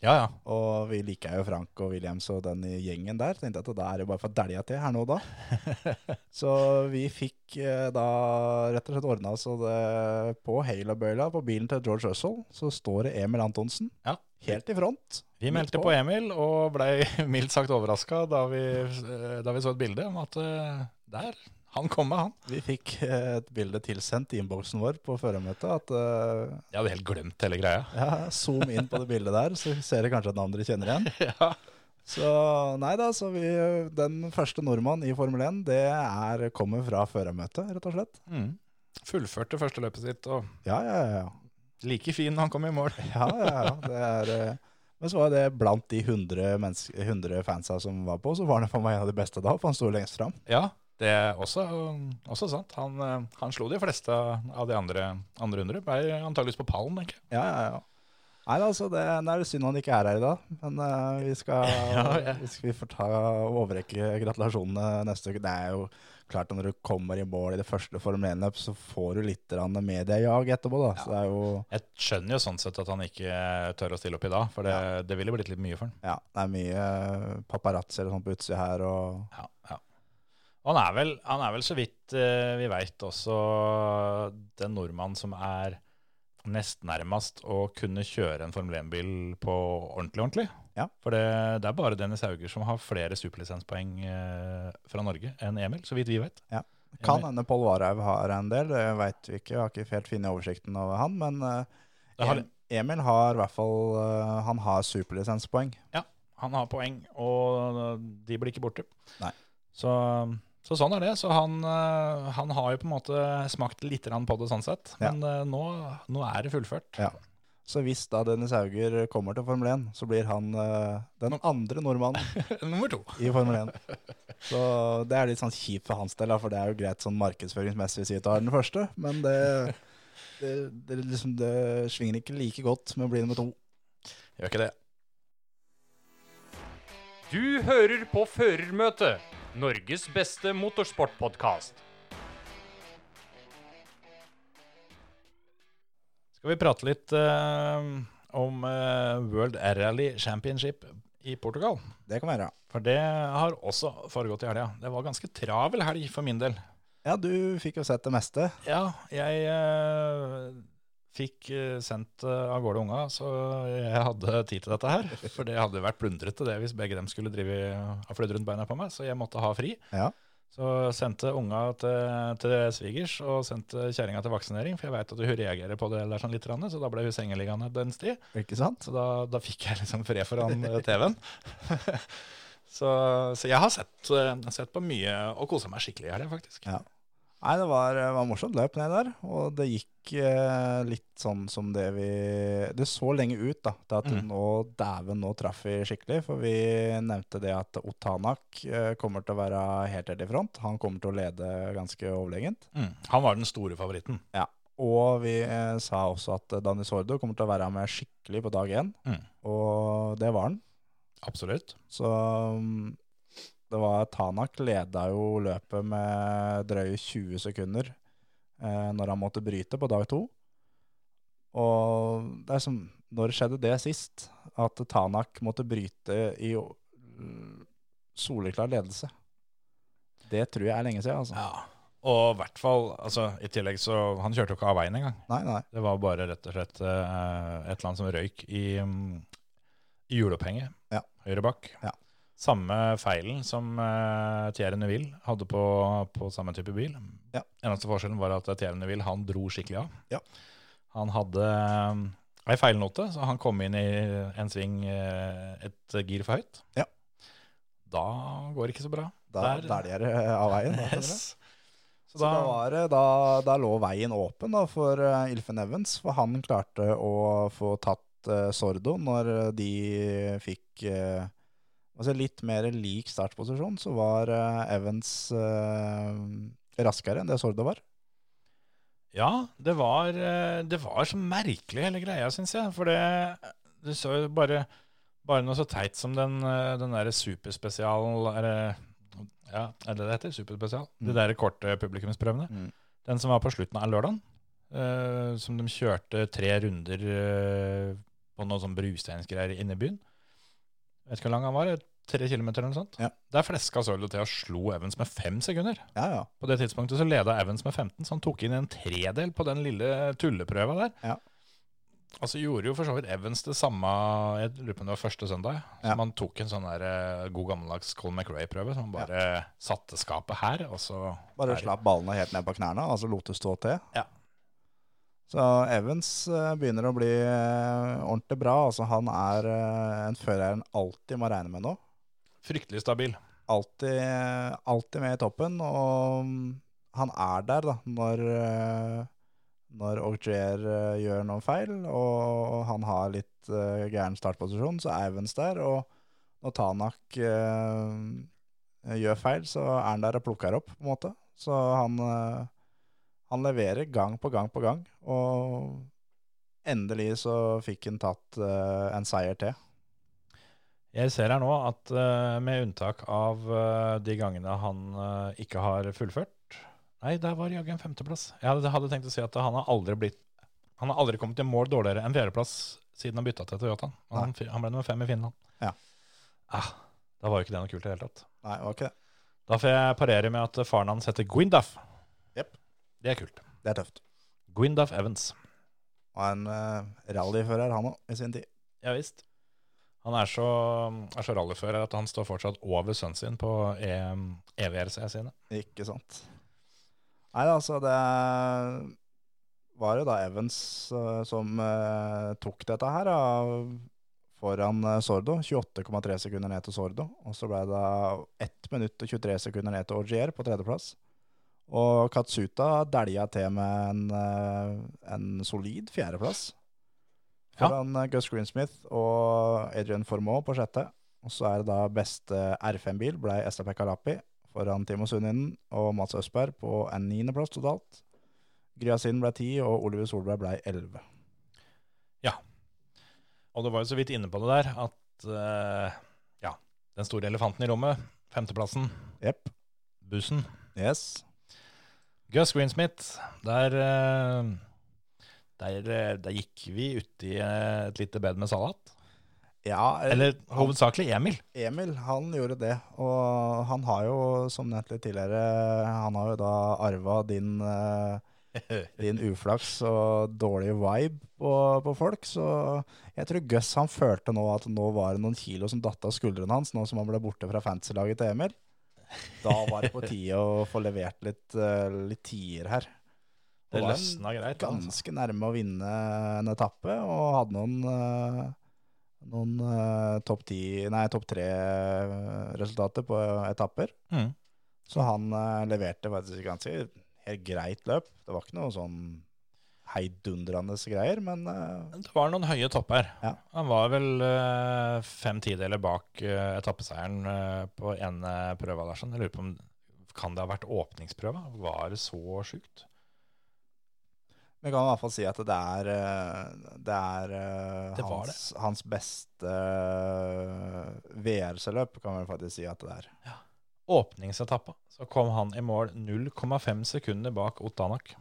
Ja, ja.
Og vi liker jo Frank og Williams og den i gjengen der. Tenkte jeg at da er det bare for dælja til her nå da. så vi fikk eh, da rett og slett ordna så det på Halo-bøyla på bilen til George Russell, så står det Emil Antonsen
Ja.
helt i front.
Vi meldte på Emil og blei mildt sagt overraska da, vi, eh, da vi så et bilde om at eh, der, han kom med, han.
Vi fikk eh, et bilde tilsendt i innboksen vår på førermøtet at eh,
Jeg hadde helt glemt hele greia.
ja, zoom inn på det bildet der, så ser dere kanskje et navn dere kjenner igjen.
ja.
Så nei da, så vi, den første nordmann i Formel 1, det er, kommer fra førermøtet, rett og slett.
Mhm. Fullførte første løpet sitt, og
Ja, ja, ja, ja.
like fin når han kom i mål.
Ja, ja, ja. Det er, eh, men så var det blant de 100, menneske- 100 fansa som var på, så var han for meg en av de beste da, for han sto lengst fram.
Ja, det er også, også sant. Han, eh, han slo de fleste av de andre, andre hundre. Ble antageligvis på pallen, tenker jeg.
Ja, ja, ja. Nei, altså, det, nei, det er synd han ikke er her i dag, men eh, vi, skal,
Ja, ja.
vi skal- vi får ta og overrekke gratulasjonene neste uke. Det er jo klart at når du kommer i mål i det første Formel 1-løp, så får du litt grann mediejag etterpå, da. Så det er jo
Jeg skjønner jo sånn sett at han ikke tør å stille opp i dag, for det, det ville blitt litt mye for han.
ja, det er mye paparazzi eller sånn på utsida her, og
Ja, ja. Og han er vel, han er vel så vidt eh, vi veit også den nordmannen som er nest nærmest å kunne kjøre en Formel 1-bil på ordentlig, ordentlig.
Ja.
For det, det er bare Dennis Hauger som har flere superlisenspoeng eh, fra Norge enn Emil, så vidt vi vet.
Ja. Kan hende Pål Warhaug har en del, det veit vi ikke. Jeg har ikke helt funnet oversikten over han, men eh,
Det har-
Em- Emil har i hvert fall eh, Han har superlisenspoeng.
Han har poeng, og de blir ikke borte.
Nei.
Så, så sånn er det. Så han, eh, han har jo på en måte smakt litt grann på det sånn sett.
Ja.
Men eh, nå, nå er det fullført.
Ja. Så hvis da Dennis Hauger kommer til Formel 1, så blir han eh, den andre nordmannen
Nummer to.
i Formel 1. Så det er litt sånn kjipt for hans del, da, for det er jo greit sånn markedsføringsmessig å si at du er den første, men det, det, det, liksom, det svinger ikke like godt med å bli nummer to.
Gjør ikke det.
Du hører på Førermøtet, Norges beste motorsportpodkast.
Skal vi prate litt eh, om eh, World Air Rally Championship i Portugal?
Det kan være.
For det har også foregått i helga. Det var ganske travel helg for min del.
Ja, du fikk jo sett det meste.
Ja, jeg eh, fikk eh, sendt eh, av gårde unga, så jeg hadde tid til dette her. For det hadde vært plundrete det hvis begge dem skulle drive og flydd rundt beina på meg, så jeg måtte ha fri.
Ja.
Så sendte unga til, til svigers og sendte kjerringa til vaksinering, for jeg veit at hun reagerer på det der sånn litt, grann, så da ble hun sengeliggende den sti.
Ikke sant?
Så da, da fikk jeg liksom fred foran eh, TV-en. så, så jeg har sett, eh, sett på mye og kosa meg skikkelig i helga, faktisk.
Ja. Nei, det var, det var morsomt løp ned der, og det gikk eh, litt sånn som det vi Det så lenge ut, da, til at
Mm.
nå dæven, nå traff vi skikkelig. For vi nevnte det at Otanak eh, kommer til å være helt helt i front. Han kommer til å lede ganske overlegent.
Mm. Han var den store favoritten.
Og vi eh, sa også at Dani Sordo kommer til å være med skikkelig på dag én,
Mm.
og det var han.
Absolutt.
Så um, det var Tanak leda jo løpet med drøye 20 sekunder eh, når han måtte bryte på dag to. Og det er som Når skjedde det sist? At Tanak måtte bryte i mm, soleklar ledelse. Det tror jeg er lenge siden, altså.
Ja. Og i hvert fall, altså, i tillegg så Han kjørte jo ikke av veien engang.
Nei, nei.
Det var bare rett og slett eh, et eller annet som røyk i mm, juleopphenget.
Ja.
Høyre bak.
Ja.
Samme feilen som uh, Thierry Neville hadde på, på samme type bil.
Ja.
Eneste forskjellen var at Thierry Neville han dro skikkelig av.
Ja.
Han hadde um, ei feilnote, så han kom inn i en sving eh, et gir for høyt.
Ja.
Da går det ikke så bra.
Da,
Der-
der de er eh, av veien. Da, skjønner du.
Yes.
Så da, var det, da, da lå veien åpen da, for eh, Ilfen Evans, for han klarte å få tatt eh, Sordo når eh, de fikk eh, altså litt mer lik startposisjon, så var eh, Evans eh, raskere enn det Sordo var.
Ja, det var, eh, det var så merkelig hele greia, syns jeg. For det, du så jo bare, bare noe så teit som den, eh, den derre superspesial er det- Ja, er det det heter? Superspesial? De
Mm.
derre korte publikumsprøvene.
Mm.
Den som var på slutten av lørdagen. eh, som de kjørte tre runder eh, på noe sånn brusteinsgreier inne i byen. Vet ikke hvor lang han var? Tre kilometer eller noe sånt?
Ja.
Der fleska Sørlo til og slo Evans med fem sekunder.
Ja, ja.
På det tidspunktet så leda Evans med 15, så han tok inn en tredel på den lille tulleprøva der.
Ja.
Altså gjorde jo for så vidt Evans det samme Jeg lurer på om det var første søndag. Så
Ja.
man tok en sånn der eh, god gammeldags Colin McRae-prøve. Så man bare satte skapet her, og så
Bare
her.
slapp ballene helt ned på knærne, altså lot det stå til.
Ja.
Så Evans eh, begynner å bli eh, ordentlig bra. Altså, han er eh, en fører en alltid må regne med nå.
Fryktelig stabil.
alltid, alltid med i toppen, og mm, han er der da, når, eh, når Augier eh, gjør noen feil, og han har litt eh, gæren startposisjon, så er Evans der, og når Tanak eh, gjør feil, så er han der og plukker opp, på en måte. Så han, eh, han leverer gang på gang på gang, og endelig så fikk han tatt eh, en seier til.
Jeg ser her nå at eh, med unntak av eh, de gangene han eh, ikke har fullført Nei, der var jaggu en femteplass. Jeg hadde, hadde tenkt å si at han har aldri blitt Han har aldri kommet i mål dårligere enn fjerdeplass siden han bytta til Toyotaen. Han, han ble nummer fem i Finland.
Ja.
Ah, da var jo ikke det noe kult i det hele tatt.
Nei, det var ikke det.
Da får jeg parere med at faren hans heter Gwindaf.
Jepp.
Det er kult.
Det er tøft.
Gwindaf Evans.
Og en eh, rallyfører, han òg, i sin tid.
Ja visst. Han er så, er så rallyfører at han står fortsatt over sønnen sin på E, EM EVRC sine.
Ikke sant. Nei, altså, det var jo da Evans eh, som eh, tok dette her da, foran eh, Sordo. 28,3 sekunder ned til Sordo. Og så ble det 1 minutt og 23 sekunder ned til Augier på tredjeplass. Og Katsuta dælja til med en, eh, en solid fjerdeplass.
Ja.
Foran eh, Gus Greensmith og Adrian Formoe på sjette. Og så er det da beste R5-bil ble STP Kalapi foran Timo Sundinen og Mats Østberg på en niendeplass totalt. Gryasin ble ti, og Oliver Solberg ble elleve.
Og du var jo så vidt inne på det der, at eh, ja, den store elefanten i rommet, femteplassen,
Jepp.
bussen,
Yes.
Gus Greensmith, der, eh, der, eh, der gikk vi uti eh, et lite bed med salat.
Ja, eh,
Eller hovedsakelig Emil.
Emil, han gjorde det. Og han har jo, som nevnt litt tidligere, han har jo da arva din, eh, din uflaks og dårlige vibe på, på folk. Så jeg tror Gus han følte nå at nå var det noen kilo som datt av skuldrene hans, nå som han ble borte fra fantasy-laget til Emil. Da var det på tide å få levert litt, eh, litt tier her.
Det
var en
løsna greit. altså.
ganske nærme å vinne en etappe, og hadde noen, eh, noen eh, topp ti, nei, topp tre-resultater på etapper.
Mm.
Så han eh, leverte faktisk et ganske helt greit løp. Det var ikke noe sånn heidundrende greier, men eh,
Det var noen høye topper.
Ja.
Han var vel eh, fem tideler bak eh, etappeseieren eh, på ene prøva der. Sånn. Jeg lurer på om kan det ha vært åpningsprøva? Var det så sjukt?
vi kan i hvert fall si at det er, eh, det er eh,
Det var
hans, hans beste eh, VR-løp, kan vi faktisk si at det er.
Åpningsetappa så kom han i mål 0,5 sekunder bak Otanak.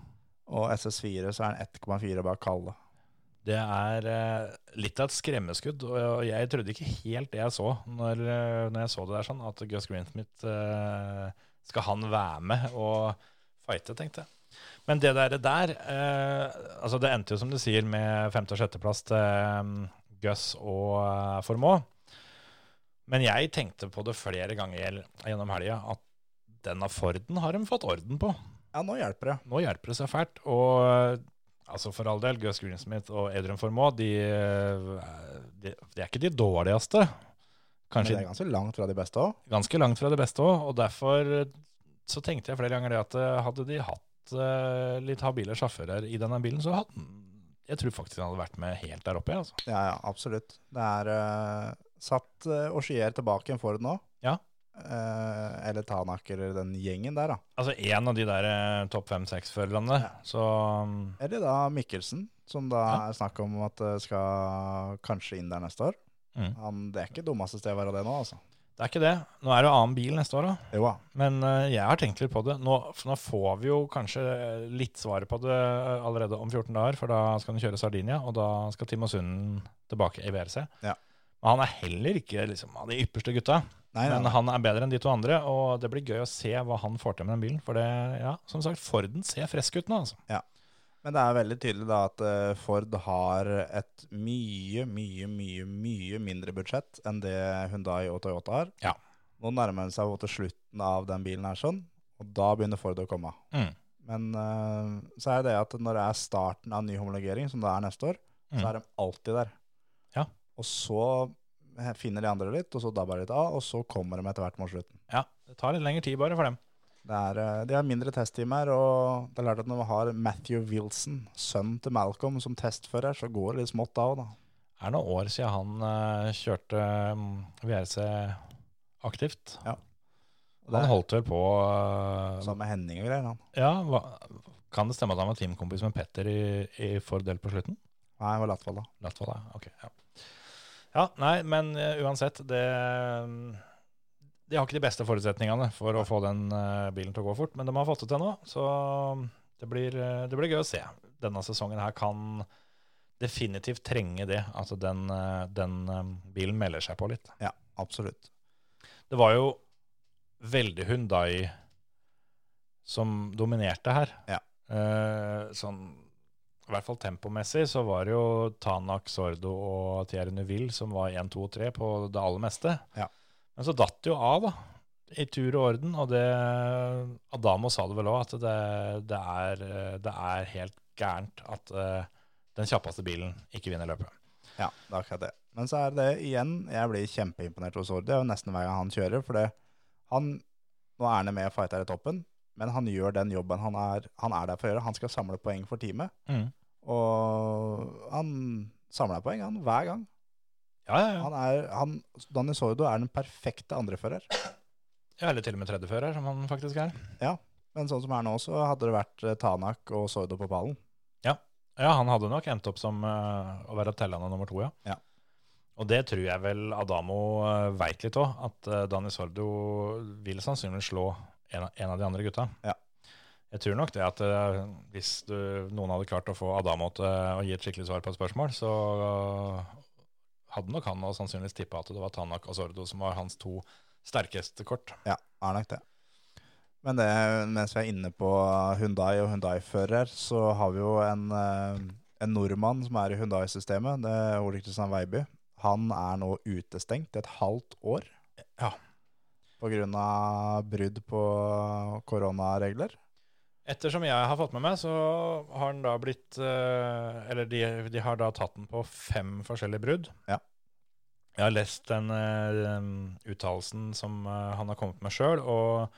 Og SS4 så er han 1,4 bak Kalle.
Det er eh, litt av et skremmeskudd, og og jeg trodde ikke helt det jeg så når, eh, når jeg så det der sånn, at Gus Greensmith eh, skal han være med og fighte, tenkte jeg. Men det der, der eh, altså det endte jo som du sier med femte- og sjetteplass til um, Gus og eh, Formå. Men jeg tenkte på det flere ganger gjennom helga, at denne Forden har de fått orden på.
Ja, nå hjelper det.
Nå hjelper det seg fælt. Og eh, altså for all del, Gus Greensmith og Adrian Formå, de, eh, de, de er ikke de dårligste.
Men det
Kanskje
er ganske langt fra de beste òg.
ganske langt fra det beste òg, og derfor eh, så tenkte jeg flere ganger det at eh, hadde de hatt eh, litt habile sjåfører i denne bilen, så hadde den Jeg tror faktisk den hadde vært med helt der oppe, jeg, altså.
Ja, ja, absolutt. Det er eh, satt eh, og skier tilbake en Ford nå.
Ja.
Eh, eller Tanak eller den gjengen der, da.
Altså én av de der eh, topp fem-seks førerne,
Ja.
så mm,
Eller da Mikkelsen, som da
Ja.
er snakk om at eh, skal kanskje inn der neste år.
Mm.
Han, det er ikke dummeste stedet å være det nå, altså.
det er ikke det. Nå er det jo annen bil neste år, da.
Jo da.
Men eh, jeg har tenkt litt på det. Nå, for nå får vi jo kanskje litt svaret på det eh, allerede om 14 dager, for da skal han kjøre Sardinia, og da skal Timo Sunden tilbake i VRC.
Ja.
Men han er heller ikke liksom, av de ypperste gutta,
Nei, nei,
men
nei.
han er bedre enn de to andre, og det blir gøy å se hva han får til med den bilen. For det, ja, som sagt, Forden ser frisk ut nå, altså.
Men det er veldig tydelig da at eh, Ford har et mye, mye, mye mye mindre budsjett enn det Hyundai og Toyota har.
Ja.
Nå nærmer den seg jo til slutten av den bilen her, sånn, og da begynner Ford å komme.
Mm.
Men eh, så er det at når det er starten av ny homologering, som det er neste år, så
Mm.
er de alltid der.
Ja.
Og så eh, finner de andre litt, og så dabber de litt av, og så kommer de etter hvert mot slutten.
Ja, det tar litt lengre tid bare for dem.
Det er, eh, de har mindre testtimer, og det er klart at når man har Matthew Wilson, sønnen til Malcolm, som testfører, så går det litt smått av. da.
Er det noen år siden han eh, kjørte mm, VRC aktivt?
Ja.
Han
Det-
holdt vel på eh,
Sammen med Henning og greier. han.
Ja, hva, kan det stemme at han var teamkompis med Petter i, i fordel på slutten?
Nei, det var Latvala.
Latvala, ok. Ja. ja, nei, men eh, uansett, det De har ikke de beste forutsetningene for å få den eh, bilen til å gå fort, men de har fått det til nå, så um, det blir, eh, det blir gøy å se. Denne sesongen her kan definitivt trenge det, at den, eh, den eh, bilen melder seg på litt.
Ja, absolutt.
Det var jo veldig Hyundai som dominerte her.
Ja.
Eh, sånn, I hvert fall tempomessig så var det jo Tanak, Sordo og Thierry Neuville som var 1, 2 og 3 på det aller meste.
Ja.
Men så datt det jo av, da. I tur og orden. Og det Adamo sa det vel òg, at det, det, er, eh, det er helt gærent at eh, den kjappeste bilen ikke vinner løpet.
Ja, det er akkurat det. Men så er det igjen, jeg blir kjempeimponert hos Ordi, og nesten hver gang han kjører, for det, han, nå er han med og fighter i toppen, men han gjør den jobben han er, han er der for å gjøre. Han skal samle poeng for teamet,
Mm.
og han samler poeng han, hver gang.
Ja, ja, ja.
Han er, han, Danny Sordo er den perfekte andrefører.
ja. Eller til og med tredjefører, som han faktisk er.
Men sånn som er nå, så hadde det vært eh, Tanak og Sordo på pallen.
Ja, han hadde nok endt opp som eh, å være tellende nummer to, ja.
Ja.
Og det tror jeg vel Adamo uh, veit litt òg, at eh, Dani Sordo vil sannsynligvis slå en av, en av de andre gutta.
Ja.
Jeg tror nok det at eh, hvis du, noen hadde klart å få Adamo til eh, å gi et skikkelig svar på et spørsmål, så eh, hadde nok han og sannsynligvis tippa at det var Tanak og Sordo som var hans to sterkeste kort.
Ja, er nok det. Men det, mens vi er inne på Hundai og Hundai-fører, så har vi jo en, eh, en nordmann som er i Hundai-systemet, det er Ole Kristian Veiby. Han er nå utestengt i et halvt år.
Ja.
På grunn av brudd på koronaregler.
Ettersom jeg har fått med meg, så har den da blitt eh, Eller de, de har da tatt den på fem forskjellige brudd.
Ja.
Jeg har lest den eh, uttalelsen som eh, han har kommet med sjøl, og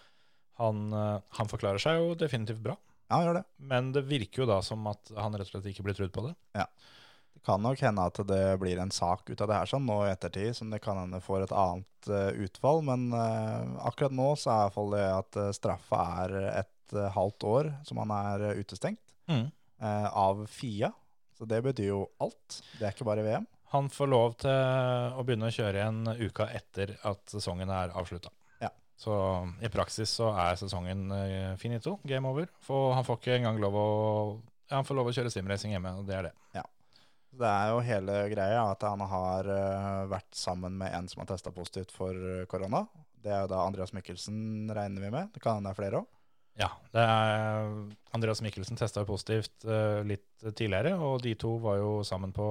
han, eh, han forklarer seg jo definitivt bra.
Ja, han gjør det.
Men det virker jo da som at han rett og slett ikke blir trudd på det.
Det kan nok hende at det blir en sak ut av det her sånn nå i ettertid, som det kan hende får et annet eh, utfall, men eh, akkurat nå så er i hvert fall det at eh, straffa er et eh, halvt år som han er eh, utestengt
Mhm.
eh, av FIA, så det betyr jo alt. Det er ikke bare VM.
Han får lov til å begynne å kjøre igjen uka etter at sesongen er avslutta.
Ja.
Så i praksis så er sesongen eh, finito, game over. For han får ikke engang lov å ja, Han får lov å kjøre simracing hjemme, og det er det.
Det er jo hele greia at han har eh, vært sammen med en som har testa positivt for eh, korona. Det er jo da Andreas Mikkelsen, regner vi med. Det kan hende det er flere òg.
Ja. Det er, Andreas Mikkelsen testa positivt eh, litt tidligere, og de to var jo sammen på,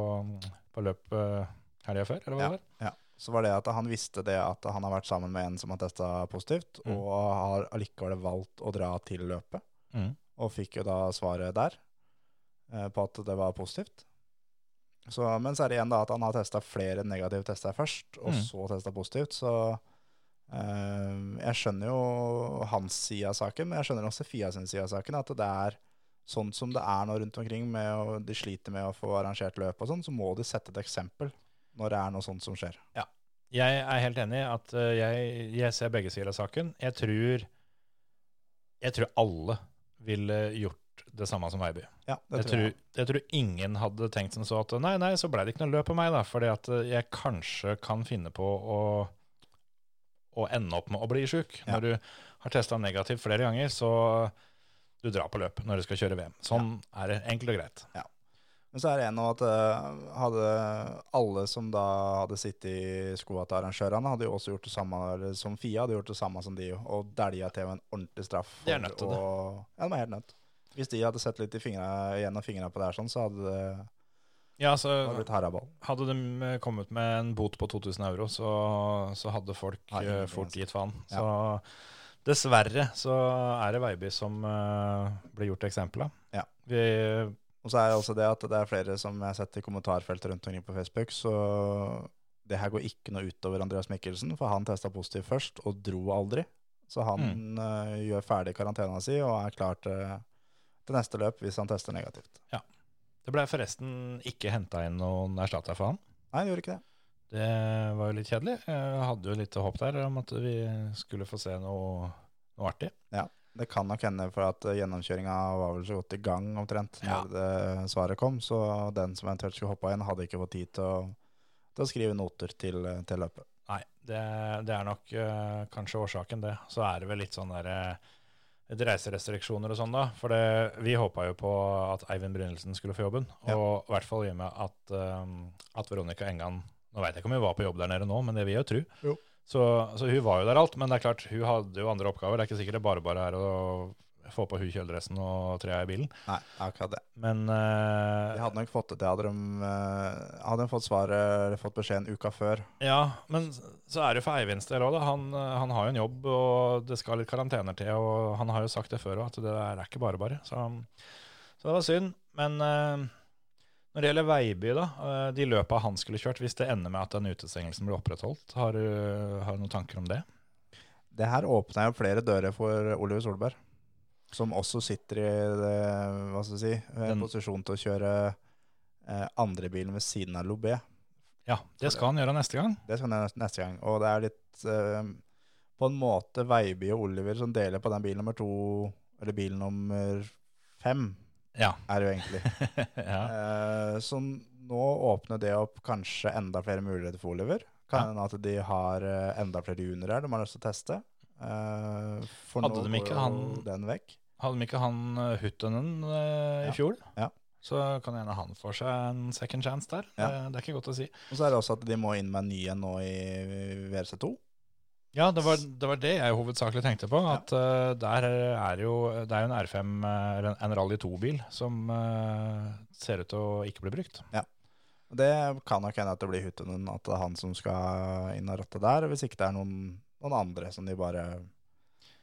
på løp uh, helga før, eller hva det var?
Ja. Så var det at han visste det at han har vært sammen med en som har testa positivt,
Mm.
og har allikevel valgt å dra til løpet.
Mm.
Og fikk jo da svaret der eh, på at det var positivt. Så, men så er det igjen da at han har testa flere negative tester først, og
Mm.
så testa positivt. Så eh, jeg skjønner jo hans side av saken, men jeg skjønner også Fia sin side av saken. At det er sånn som det er nå rundt omkring, med å, de sliter med å få arrangert løp og sånn, så må de sette et eksempel når det er noe sånt som skjer.
Jeg er helt enig i at eh, jeg, jeg ser begge sider av saken. Jeg tror, jeg tror alle ville gjort det samme som Veiby.
Ja, det
jeg, tror, jeg. tror ingen hadde tenkt som så at nei, nei, så ble det ikke noe løp på meg, da, fordi at eh, jeg kanskje kan finne på å, å ende opp med å bli sjuk.
Ja.
Når du har testa negativt flere ganger, så du drar på løp når du skal kjøre VM. Sånn er det. Enkelt og greit.
Men så er det en av at eh, hadde alle som da hadde sittet i skoa til arrangørene, hadde jo også gjort det samme eller som Fia, hadde gjort det samme som de, og dælja til med en ordentlig straff.
De er nødt til det.
og, Ja, de er helt nødt. Hvis de hadde sett litt i fingra, gjennom fingra på det her, sånn, så hadde det
Ja, altså,
hadde det blitt haraball.
hadde de eh, kommet med en bot på 2000 euro, så, så hadde folk
Nei,
eh,
ingenting,
fort
altså.
gitt faen. Så dessverre så er det Veiby som eh, blir gjort eksempel av.
Ja.
Vi
Og så er det også det at det er flere som jeg har sett i kommentarfeltet rundt omkring på Facebook, så det her går ikke noe utover Andreas Mikkelsen, for han testa positivt først og dro aldri. Så han eh, gjør ferdig karantena si og er klar til, til neste løp hvis han tester negativt.
Det ble forresten ikke henta inn noen erstatter for han.
Nei, han gjorde ikke det.
Det var jo litt kjedelig. Jeg hadde jo litt håp der om at vi skulle få se noe, noe artig.
Det kan nok hende for at eh, gjennomkjøringa var vel så godt i gang omtrent
Ja.
når det svaret kom, så den som eventuelt skulle hoppa inn, hadde ikke fått tid til å, til å skrive noter til, eh, til løpet.
Nei, det, det er nok eh, kanskje årsaken, det. Så er det vel litt sånn derre litt reiserestriksjoner og sånn, da. For det, vi håpa jo på at Eivind Brynildsen skulle få jobben.
Ja.
Og i hvert fall i og med at, eh, at Veronica Engan Nå veit jeg ikke om hun var på jobb der nede nå, men det vil jeg jo tro.
Jo.
Så, så hun var jo der alt. Men det er klart, hun hadde jo andre oppgaver. Det er ikke sikkert det bare bare er å få på hun kjøledressen og trea i bilen.
Nei, akkurat det.
Men eh,
De hadde nok fått det til, hadde de eh, hadde de fått svaret eller fått beskjeden uka før.
Ja, men så er det for Eivinds del òg, da. Han, eh, han har jo en jobb, og det skal litt karantener til. Og han har jo sagt det før òg, at det er ikke bare bare. Så, så det var synd. Men eh, når det gjelder Veiby, da. eh, de løpa han skulle kjørt, hvis det ender med at den utestengelsen blir opprettholdt, har du, har du noen tanker om det?
Det her åpna jo flere dører for Oliver Solberg, som også sitter i det, hva skal vi si, eh,
Den-
posisjon til å kjøre eh, andrebilen ved siden av Lobé.
Ja, det skal han gjøre neste gang.
Det skal jeg neste- neste gang. Og det er litt eh, på en måte Veiby og Oliver som deler på den bilen nummer to, eller bil nummer fem,
Ja.
er det jo egentlig.
ja.
Eh, Så nå åpner det opp kanskje enda flere muligheter for Oliver. Kan hende at de har eh, enda flere juniorer de har lyst til å teste. Eh, For
Hadde
nå
de
går
ikke
jo
han-
den vekk.
Hadde de ikke han eh, Huttunen eh,
Ja.
i fjor?
Ja.
Så kan hende han får seg en second chance der.
Ja.
Det, det er ikke godt å si.
Og så er det også at de må inn med en ny en nå i VRC2.
Ja, det var, det var det jeg hovedsakelig tenkte på. At eh, der er jo Det er jo en R5, eh, eller en- en Rally 2-bil, som eh, ser ut til å ikke bli brukt.
Og Det kan nok hende at det blir Huttunen, at det er han som skal inn og rotte der. Hvis ikke det er noen, noen andre som de bare,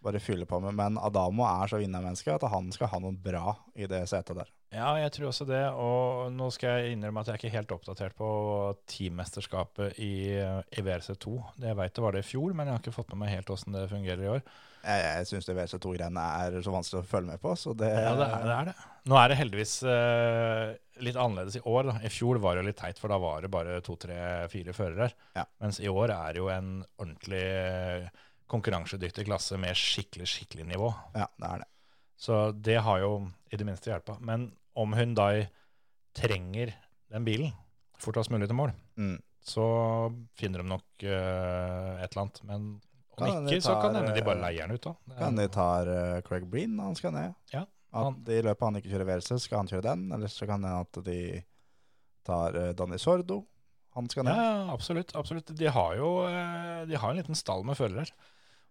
bare fyller på med. Men Adamo er så vinnermenneske at han skal ha noe bra i det setet der.
Ja, jeg tror også det. Og nå skal jeg innrømme at jeg er ikke helt oppdatert på teammesterskapet i, eh, E i WRC2. Det Jeg veit det var det i fjor, men jeg har ikke fått med meg helt åssen det fungerer i år.
Jeg, jeg syns VRC2-greiene er så vanskelig å følge med på, så det,
Ja, det er det. Er det. Nå er det heldigvis eh, litt annerledes i år. Da. I fjor var det litt teit, for da var det bare to, tre, fire førere.
Ja.
Mens i år er det jo en ordentlig eh, konkurransedyktig klasse med skikkelig, skikkelig nivå.
Ja, det er det.
Så det har jo i det minste hjelpa. Men om Hyundai trenger den bilen fortest mulig til mål,
Mm.
så finner de nok eh, et eller annet. Men om
Kan hende de
ikke, så kan
tar,
hende de bare
eh,
leier den ut, da. Det er-
Kan de tar eh, Craig Breen når han skal ned.
Ja,
At
han-
de I løpet han ikke kjører VRC, skal han kjøre den. Eller så kan det hende at de tar eh, Danny Sordo. Han skal
Ja,
ned.
ja, absolutt. absolutt. De har jo eh, de har en liten stall med følgere.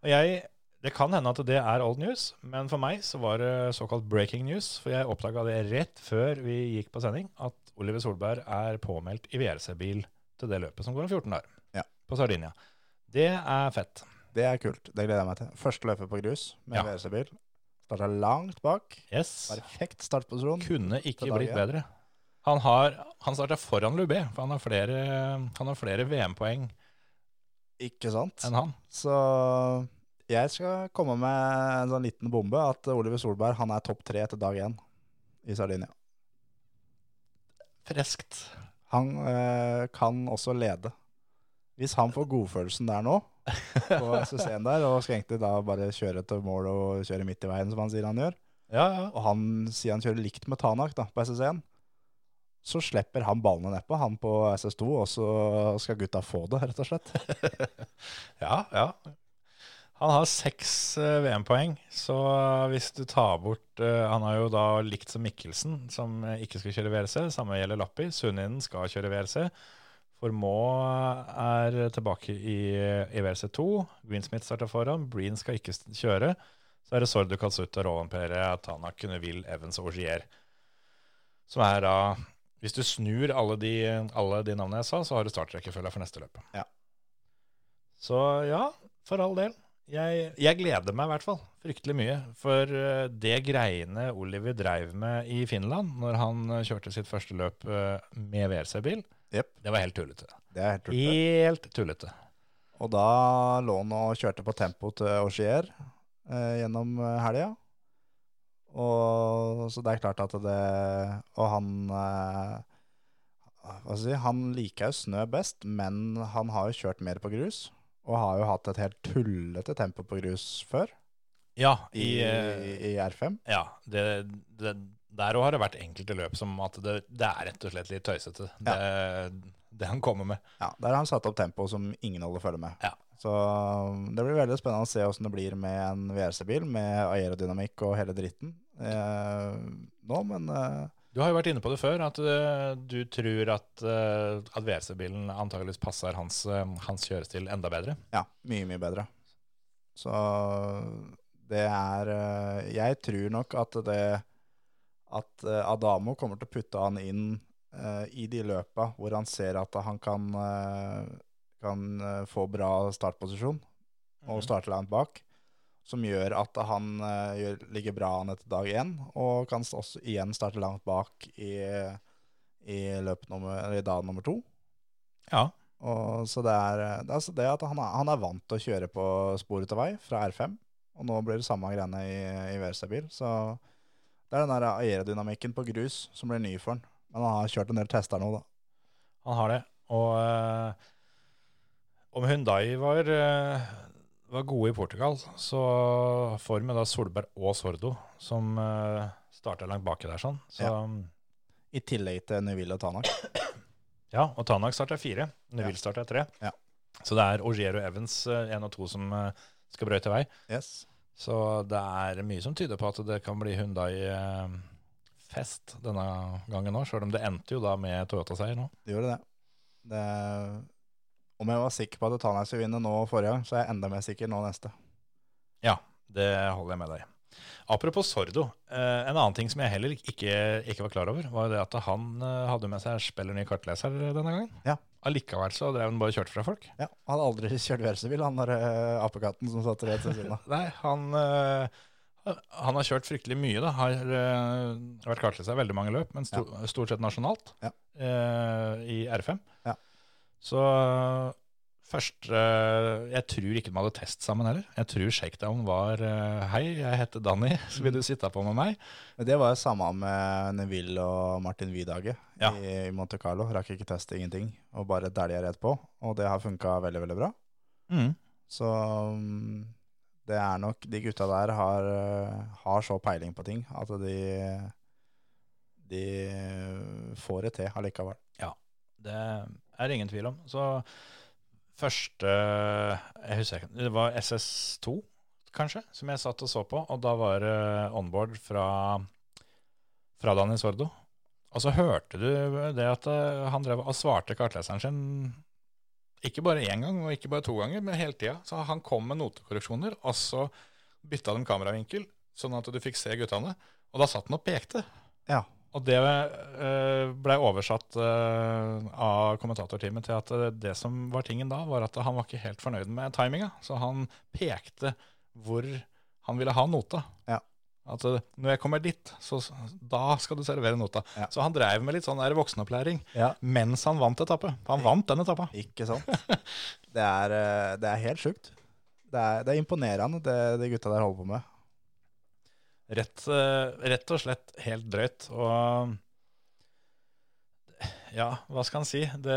Og jeg Det kan hende at det er old news, men for meg så var det såkalt breaking news. For jeg oppdaga det rett før vi gikk på sending, at Oliver Solberg er påmeldt i VRC-bil til det løpet som går om 14 dager.
Ja.
På Sardinia. Det er fett.
Det er kult. Det gleder jeg meg til. Første løpet på grus med
Ja.
VRC-bil. Starta langt bak.
Yes.
Perfekt startposisjon.
Kunne ikke
Til
blitt
dagen.
bedre. Han, har, han starta foran Lubé, for han har flere, han har flere VM-poeng
Ikke sant?
enn han.
Så jeg skal komme med en sånn liten bombe at Oliver Solberg han er topp tre etter dag én i Sardinia.
Freskt.
Han eh, kan også lede. Hvis han får godfølelsen der nå, på SSC-en der, og skal egentlig da bare kjøre til mål og kjøre midt i veien, som han sier han gjør,
Ja, ja.
og han sier han kjører likt med Tanak da, på SSC-en, så slipper han ballene nedpå, han på SS2, og så skal gutta få det, rett og slett.
Ja, ja. Han har seks eh, VM-poeng, så hvis du tar bort eh, Han har jo da likt som Mikkelsen, som eh, ikke skal kjøre VRC. Samme gjelder Lappi. Sunninen skal kjøre VRC. Formå eh, er tilbake i, eh, i VRC2. Greensmith starter foran. Breen skal ikke st- kjøre. Så er det Sordo Katsuta, Rovan Pere, Tanak, Kuneville, Evans og Ogier. Som er da Hvis du snur alle de, alle de navnene jeg sa, så har du startrekkefølga for neste løp. Så ja, for all del. Jeg, jeg gleder meg i hvert fall fryktelig mye. For eh, det greiene Oliver dreiv med i Finland når han eh, kjørte sitt første løp eh, med VRC-bil,
Jep.
det var helt tullete.
Det er helt tullete.
Helt tullete.
Og da lå han og kjørte på tempo til Auxier eh, gjennom eh, helga. Og så det er klart at det Og han eh, Hva skal jeg si Han liker jo snø best, men han har jo kjørt mer på grus. Og har jo hatt et helt tullete tempo på grus før,
Ja,
i,
i,
i,
eh,
R5.
ja det, det, der òg har det vært enkelte løp som at det, det er rett og slett litt tøysete, det, det han kommer med.
Ja, Der har han satt opp tempo som ingen holder følge med.
Ja.
Så um, det blir veldig spennende å se åssen det blir med en VRC-bil, med aerodynamikk og hele dritten eh, nå, men eh,
Du har jo vært inne på det før, at eh, du tror at, eh, at VRC-bilen antageligvis passer hans, eh, hans kjørestil enda bedre.
Ja, mye, mye bedre. Så det er eh, Jeg tror nok at det At eh, Adamo kommer til å putte han inn eh, i de løpa hvor han ser at han kan, eh, kan eh, få bra startposisjon og starte langt bak. Som gjør at han eh, gjør, ligger bra an etter dag én, og kan s- også igjen starte langt bak i, i, løp nummer, eller i dag nummer to.
Ja.
Og så det er, det er altså det at han er, han er vant til å kjøre på sporet av vei fra R5, og nå blir det samme greiene i, i VRC-bil. Så det er den der aerodynamikken på grus som blir ny for han. Men han har kjørt en del tester nå, da.
Han har det. Og eh, om Hyundai var, eh, var gode i Portugal, så får vi da Solberg og Sordo, som uh, starta langt baki der. sånn. Så, ja.
I tillegg til Neville og Tanak.
Og Tanak starta fire. Neville starta tre.
Ja.
Så det er Ogier og Evans, én og to, som eh, skal brøyte vei.
Yes.
Så det er mye som tyder på at det kan bli Hundai-fest denne gangen òg, sjøl om det endte jo da med Toyota-seier nå.
Det gjorde det. det. Om jeg var sikker på at Tanak skulle vinne nå forrige gang, så er jeg enda mer sikker nå neste.
Det holder jeg med deg i. Apropos Sordo, eh, en annen ting som jeg heller ikke, ikke var klar over, var jo det at han eh, hadde med seg spiller ny kartleser denne gangen.
Ja.
Allikevel så drev han bare og kjørte fra folk.
Ja, Han hadde aldri kjørt VRC-bil, han der eh, apekatten som satt rett ved siden av.
Nei, han, eh, han har kjørt fryktelig mye, da. Har eh, vært kartleser i veldig mange løp, men sto, stort sett nasjonalt
Ja.
eh, i R5.
Ja.
Så først eh, Jeg tror ikke de hadde test sammen heller. Jeg tror shakedown var eh, Hei, jeg heter Danny, så vil du sitte på med meg?
Men Det var jo samme med Neville og Martin Vidage
Ja.
i, i Monte Carlo. Rakk ikke teste ingenting, og bare dælja rett på. Og det har funka veldig, veldig bra.
Mm.
Så mm, det er nok De gutta der har, eh, har så peiling på ting at de de får det til allikevel.
Det er det ingen tvil om. Så første Jeg husker ikke. Det var SS2, kanskje, som jeg satt og så på. Og da var det onboard fra, fra Dani Sordo. Og så hørte du det at eh, han drev og svarte kartleseren sin ikke bare én gang, og ikke bare to ganger, men hele tida. Så han kom med notekorreksjoner, og så bytta de kameravinkel, sånn at du fikk se guttene. Og da satt han og pekte.
Ja.
Og det eh, ble oversatt eh, av kommentatorteamet til at eh, det som var tingen da, var at han var ikke helt fornøyd med timinga. Så han pekte hvor han ville ha nota.
Ja.
At eh, når jeg kommer dit, så s- da skal du servere nota.
Ja.
Så han drev med litt sånn der voksenopplæring
Ja.
mens han vant etappe. For Han vant den etappa.
Ikke sant? Det er, eh, det er helt sjukt. Det er, det er imponerende, det de gutta der holder på med.
Rett, eh, rett og slett helt drøyt. Og ja, hva skal han si? Det,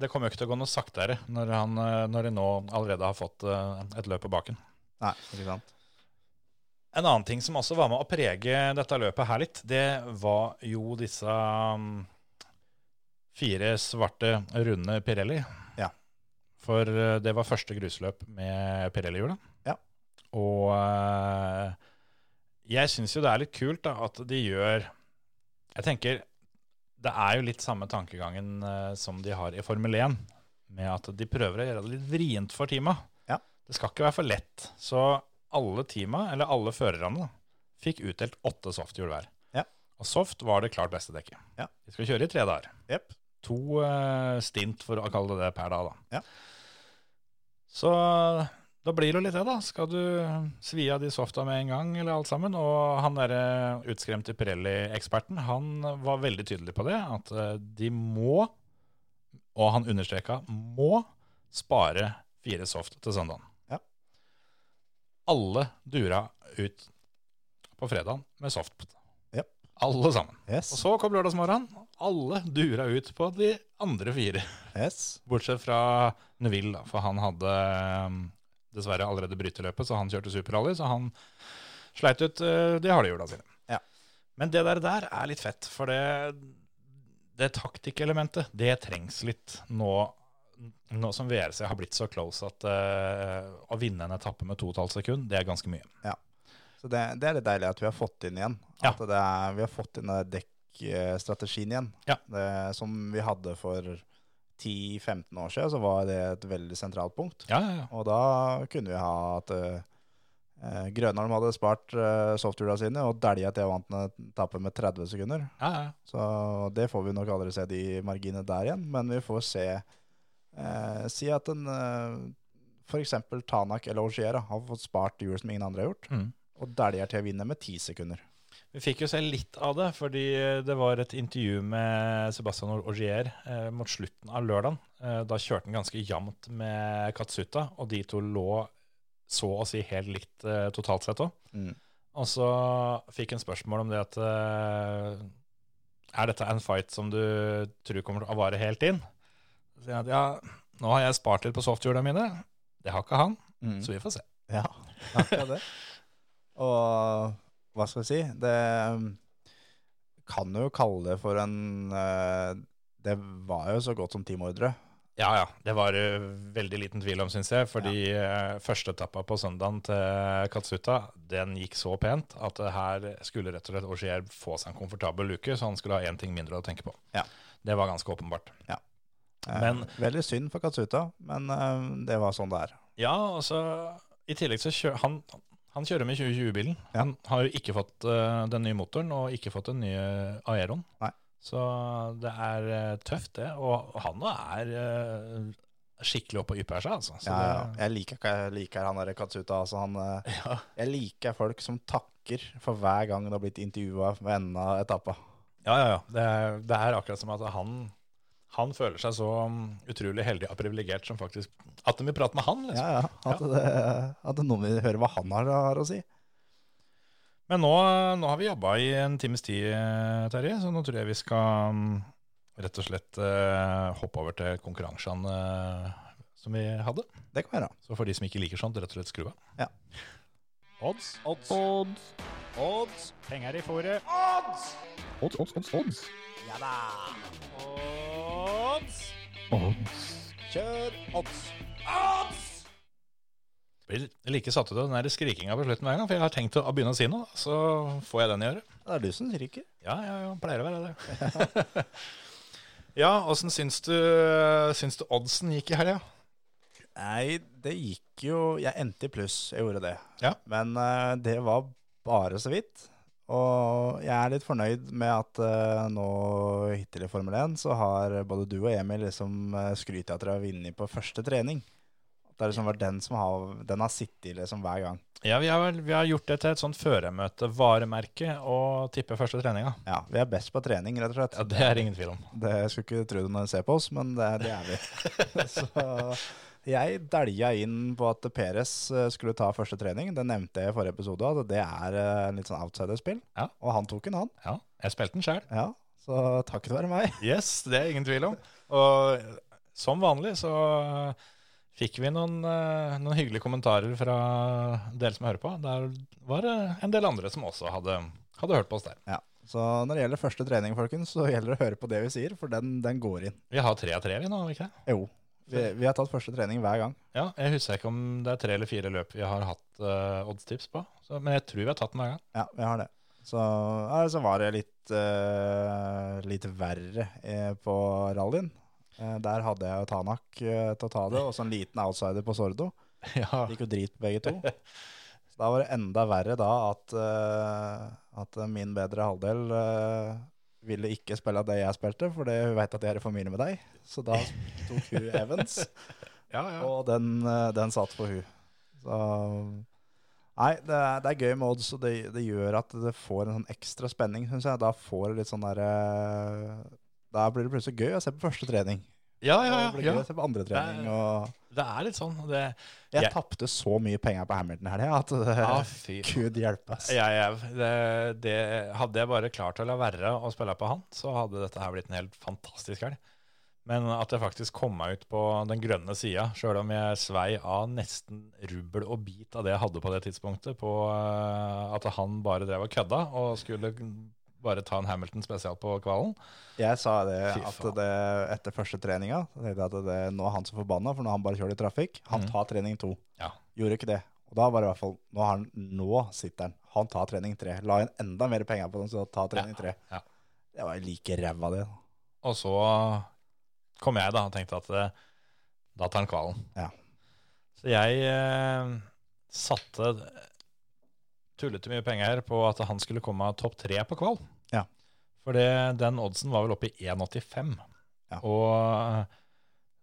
det kommer jo ikke til å gå noe saktere når, han, eh, når de nå allerede har fått eh, et løp på baken.
Nei, ikke sant?
En annen ting som også var med å prege dette løpet her litt, det var jo disse mm, fire svarte, runde Pirelli.
Ja.
For eh, det var første grusløp med Pirelli-hjula.
Ja.
Og eh, jeg syns jo det er litt kult da, at de gjør Jeg tenker det er jo litt samme tankegangen eh, som de har i Formel 1, med at de prøver å gjøre det litt vrient for teama.
Ja.
Det skal ikke være for lett. Så alle teama, eller alle førerne, da, fikk utdelt åtte softhjul hver.
Ja.
Og soft var det klart beste dekket.
Ja.
De skal kjøre i tre dager.
Jepp.
To eh, stint, for å kalle det det, per dag. da.
Ja.
Så da blir det jo litt det, da. Skal du svi av de softa med en gang, eller alt sammen? Og han derre utskremte Pirelli-eksperten, han var veldig tydelig på det, at eh, de må, og han understreka må, spare fire soft til søndagen.
Ja.
Alle dura ut på fredagen med soft.
Ja.
Alle sammen. Og
Yes.
så kom lørdagsmorgenen. Alle dura ut på de andre fire.
yes.
Bortsett fra Neville, da, for han hadde um, dessverre allerede bryteløpet, så han kjørte superrally, så han sleit ut uh, de harde hjula sine.
Ja.
Men det der, der er litt fett, for det, det taktikkelementet, det trengs litt nå, nå som VRC har blitt så close at uh, å vinne en etappe med 2,5 sekund, det er ganske mye.
Så det, det er litt deilig at vi har fått inn igjen.
Ja.
At det er, vi har fått inn den dekkstrategien igjen.
Ja.
Det, som vi hadde for 10-15 år siden, så var det et veldig sentralt punkt.
Ja, ja, ja.
Og da kunne vi ha at eh, eh, Grønholm hadde spart uh, softhjula sine og dælja til jeg vant en etappe med 30 sekunder.
ja, ja.
Så det får vi nok aldri se de marginene der igjen, men vi får se eh, Si at en eh, f.eks. Tanak eller Ogiera har fått spart hjul som ingen andre har gjort,
Mm.
og dæljer til å vinne med ti sekunder.
Vi fikk jo se litt av det, fordi det var et intervju med Sebastian Ogier eh, mot slutten av lørdagen. Eh, da kjørte han ganske jevnt med Katsuta, og de to lå så å si helt likt eh, totalt sett òg.
Mm.
Og så fikk han spørsmål om det at eh, Er dette en fight som du tror kommer til å vare helt inn? Så sier han at ja, nå har jeg spart litt på softhjula mine. Det har ikke han, så vi får se.
Ja, akkurat det. Og hva skal vi si? Det um, kan jo kalle det for en eh, Det var jo så godt som teamordre.
Ja, ja. Det var det veldig liten tvil om, syns jeg. Fordi eh, førsteetappa på søndagen til Katsuta, den gikk så pent at det her skulle rett og slett Ogier få seg en komfortabel luke, så han skulle ha én ting mindre å tenke på.
Ja.
Det var ganske åpenbart.
Eh,
Men-
Veldig synd for Katsuta, men eh, det var sånn det er.
Ja, og så i tillegg så kjører han han kjører med 2020-bilen.
Ja.
Han har jo ikke fått eh, den nye motoren og ikke fått den nye Aeron.
Nei.
Så det er eh, tøft, det. Og han nå er eh, skikkelig oppe og ypper seg, altså. Så
Ja, ja.
det-
Jeg liker, ikke- jeg liker han der Katsuta. Altså han, eh,
Ja.
Jeg liker folk som takker for hver gang det har blitt intervjua ved enden av etappa.
Ja, ja, ja. Det er, det er akkurat som at han, han føler seg så mm, utrolig heldig og privilegert som faktisk At de vil prate med han, liksom.
Ja, ja. At, det, at noen vil høre hva han har, har å si.
Men nå, nå har vi jobba i en times tid, eh, Terje, så nå tror jeg vi skal mm, rett og slett eh, hoppe over til konkurransene eh, som vi hadde.
Det kan være.
Så for de som ikke liker sånt, rett og slett skru av.
Ja.
Odds. Odds. Odds. Odds. Penger i fòret.
Kjør odds!
Blir like satt ut av den der skrikinga på slutten hver gang, for jeg har tenkt å begynne å si noe, så får jeg den i øret.
Det er du som ryker.
Ja, ja, ja, pleier å være det. ja, åssen syns du, syns du oddsen gikk i helga?
Nei, det gikk jo Jeg endte i pluss, jeg gjorde det.
Ja.
Men eh, det var bare så vidt. Og jeg er litt fornøyd med at eh, nå hittil i Formel 1 så har både du og Emil liksom eh, skrytt av at dere har vunnet på første trening. At det har liksom vært den som har, den har sittet i liksom hver gang.
Ja, vi har, vel- vi har gjort det til et sånt føremøte-varemerke og tipper første treninga.
Ja, Vi er best på trening, rett og slett.
Ja, Det er ingen tvil om.
Det jeg skulle ikke tro det når en ser på oss, men det, det er vi. så jeg delja inn på at Peres eh, skulle ta første trening. Det nevnte jeg i forrige episode, at det er eh, en litt sånn outsiderspill.
Ja.
Og han tok en, han.
Ja, jeg spilte den sjøl.
Ja, så takket være meg.
Yes, det er ingen tvil om. Og som vanlig så fikk vi noen, eh, noen hyggelige kommentarer fra dere som hører på. Der var det en del andre som også hadde, hadde hørt på oss der.
Ja. Så når det gjelder første trening, folkens, så gjelder det å høre på det vi sier, for den, den går inn.
Vi har tre av tre, vi nå, har vi ikke det?
Jo. Vi, vi har tatt første trening hver gang.
Ja, jeg husker ikke om det er tre eller fire løp vi har hatt eh, oddstips på. Så, men jeg tror vi har tatt den hver gang.
Ja, vi har det. Så, ja, så var det litt, eh, litt verre eh, på rallyen. Eh, der hadde jeg jo Tanak eh, til å ta det, og så en liten outsider på Sordo.
Ja,
Det gikk jo drit på begge to. Så da var det enda verre da at, eh, at min bedre halvdel eh, ville ikke spille det jeg spilte, fordi hun veit at jeg er i familie med deg. Så da tok hun Evans,
ja, ja.
og den, eh, den satt på hun. Så Nei, det er, det er gøy med odds, og det, det gjør at det får en sånn ekstra spenning, syns jeg. Da får det litt sånn derre Da blir det plutselig gøy å se på første trening.
ja, ja,
Da blir
ja,
det gøy
ja.
å se på andre trening. og...
Det er litt sånn. Det,
Jeg
Jeg-
tapte så mye penger på Hamilton her, det, at
Ja, fy.
Gud hjelpe oss.
Ah, jeg, jeg, det, det, hadde jeg bare klart å la være å spille på han, så hadde dette her blitt en helt fantastisk helg. Men at jeg faktisk kom meg ut på den grønne sida, sjøl om jeg svei av nesten rubbel og bit av det jeg hadde på det tidspunktet, på eh, at han bare drev og kødda og skulle bare ta en Hamilton spesial på kvalen.
Jeg sa det
Fy
at
faen.
det, etter første treninga så tenkte jeg at det, nå er han så forbanna, for nå har han bare kjørt i trafikk.
Mm.
Han tar trening to.
Ja.
Gjorde ikke det. Og da var det i hvert fall Nå, har han, nå sitter han. Han tar trening tre. La inn enda mer penger på den, så ta trening tre.
ja.
Det var like ræva, det.
Og så kom jeg da og tenkte at eh, da tar han kvalen.
Ja.
Så jeg eh, satte tullete mye penger her på at han skulle komme topp tre på kval.
Ja.
For det, den oddsen var vel oppe i 1,85.
Ja.
Og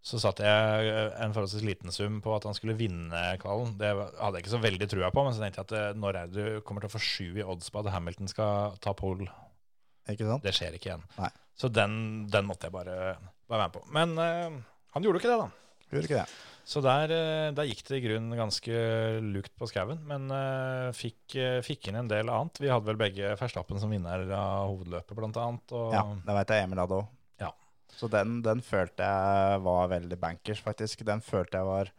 så satte jeg eh, en forholdsvis liten sum på at han skulle vinne kvalen. Det var- hadde jeg ikke så veldig trua på, men så tenkte jeg at eh, når er det du kommer til å få sju i odds på at Hamilton skal ta pole
Ikke sant?
det skjer ikke igjen.
Nei.
Så den, den måtte jeg bare, bare være med på. Men eh, han gjorde jo ikke det, da.
Gjorde ikke det.
Så der, eh, der gikk det i grunnen ganske lukt på skauen. Men eh, fikk, eh, fikk inn en del annet. Vi hadde vel begge Verstappen som vinner av hovedløpet, blant annet. Og,
Ja, det veit jeg Emil hadde òg.
Ja.
Så den, den følte jeg var veldig bankers, faktisk. Den følte jeg var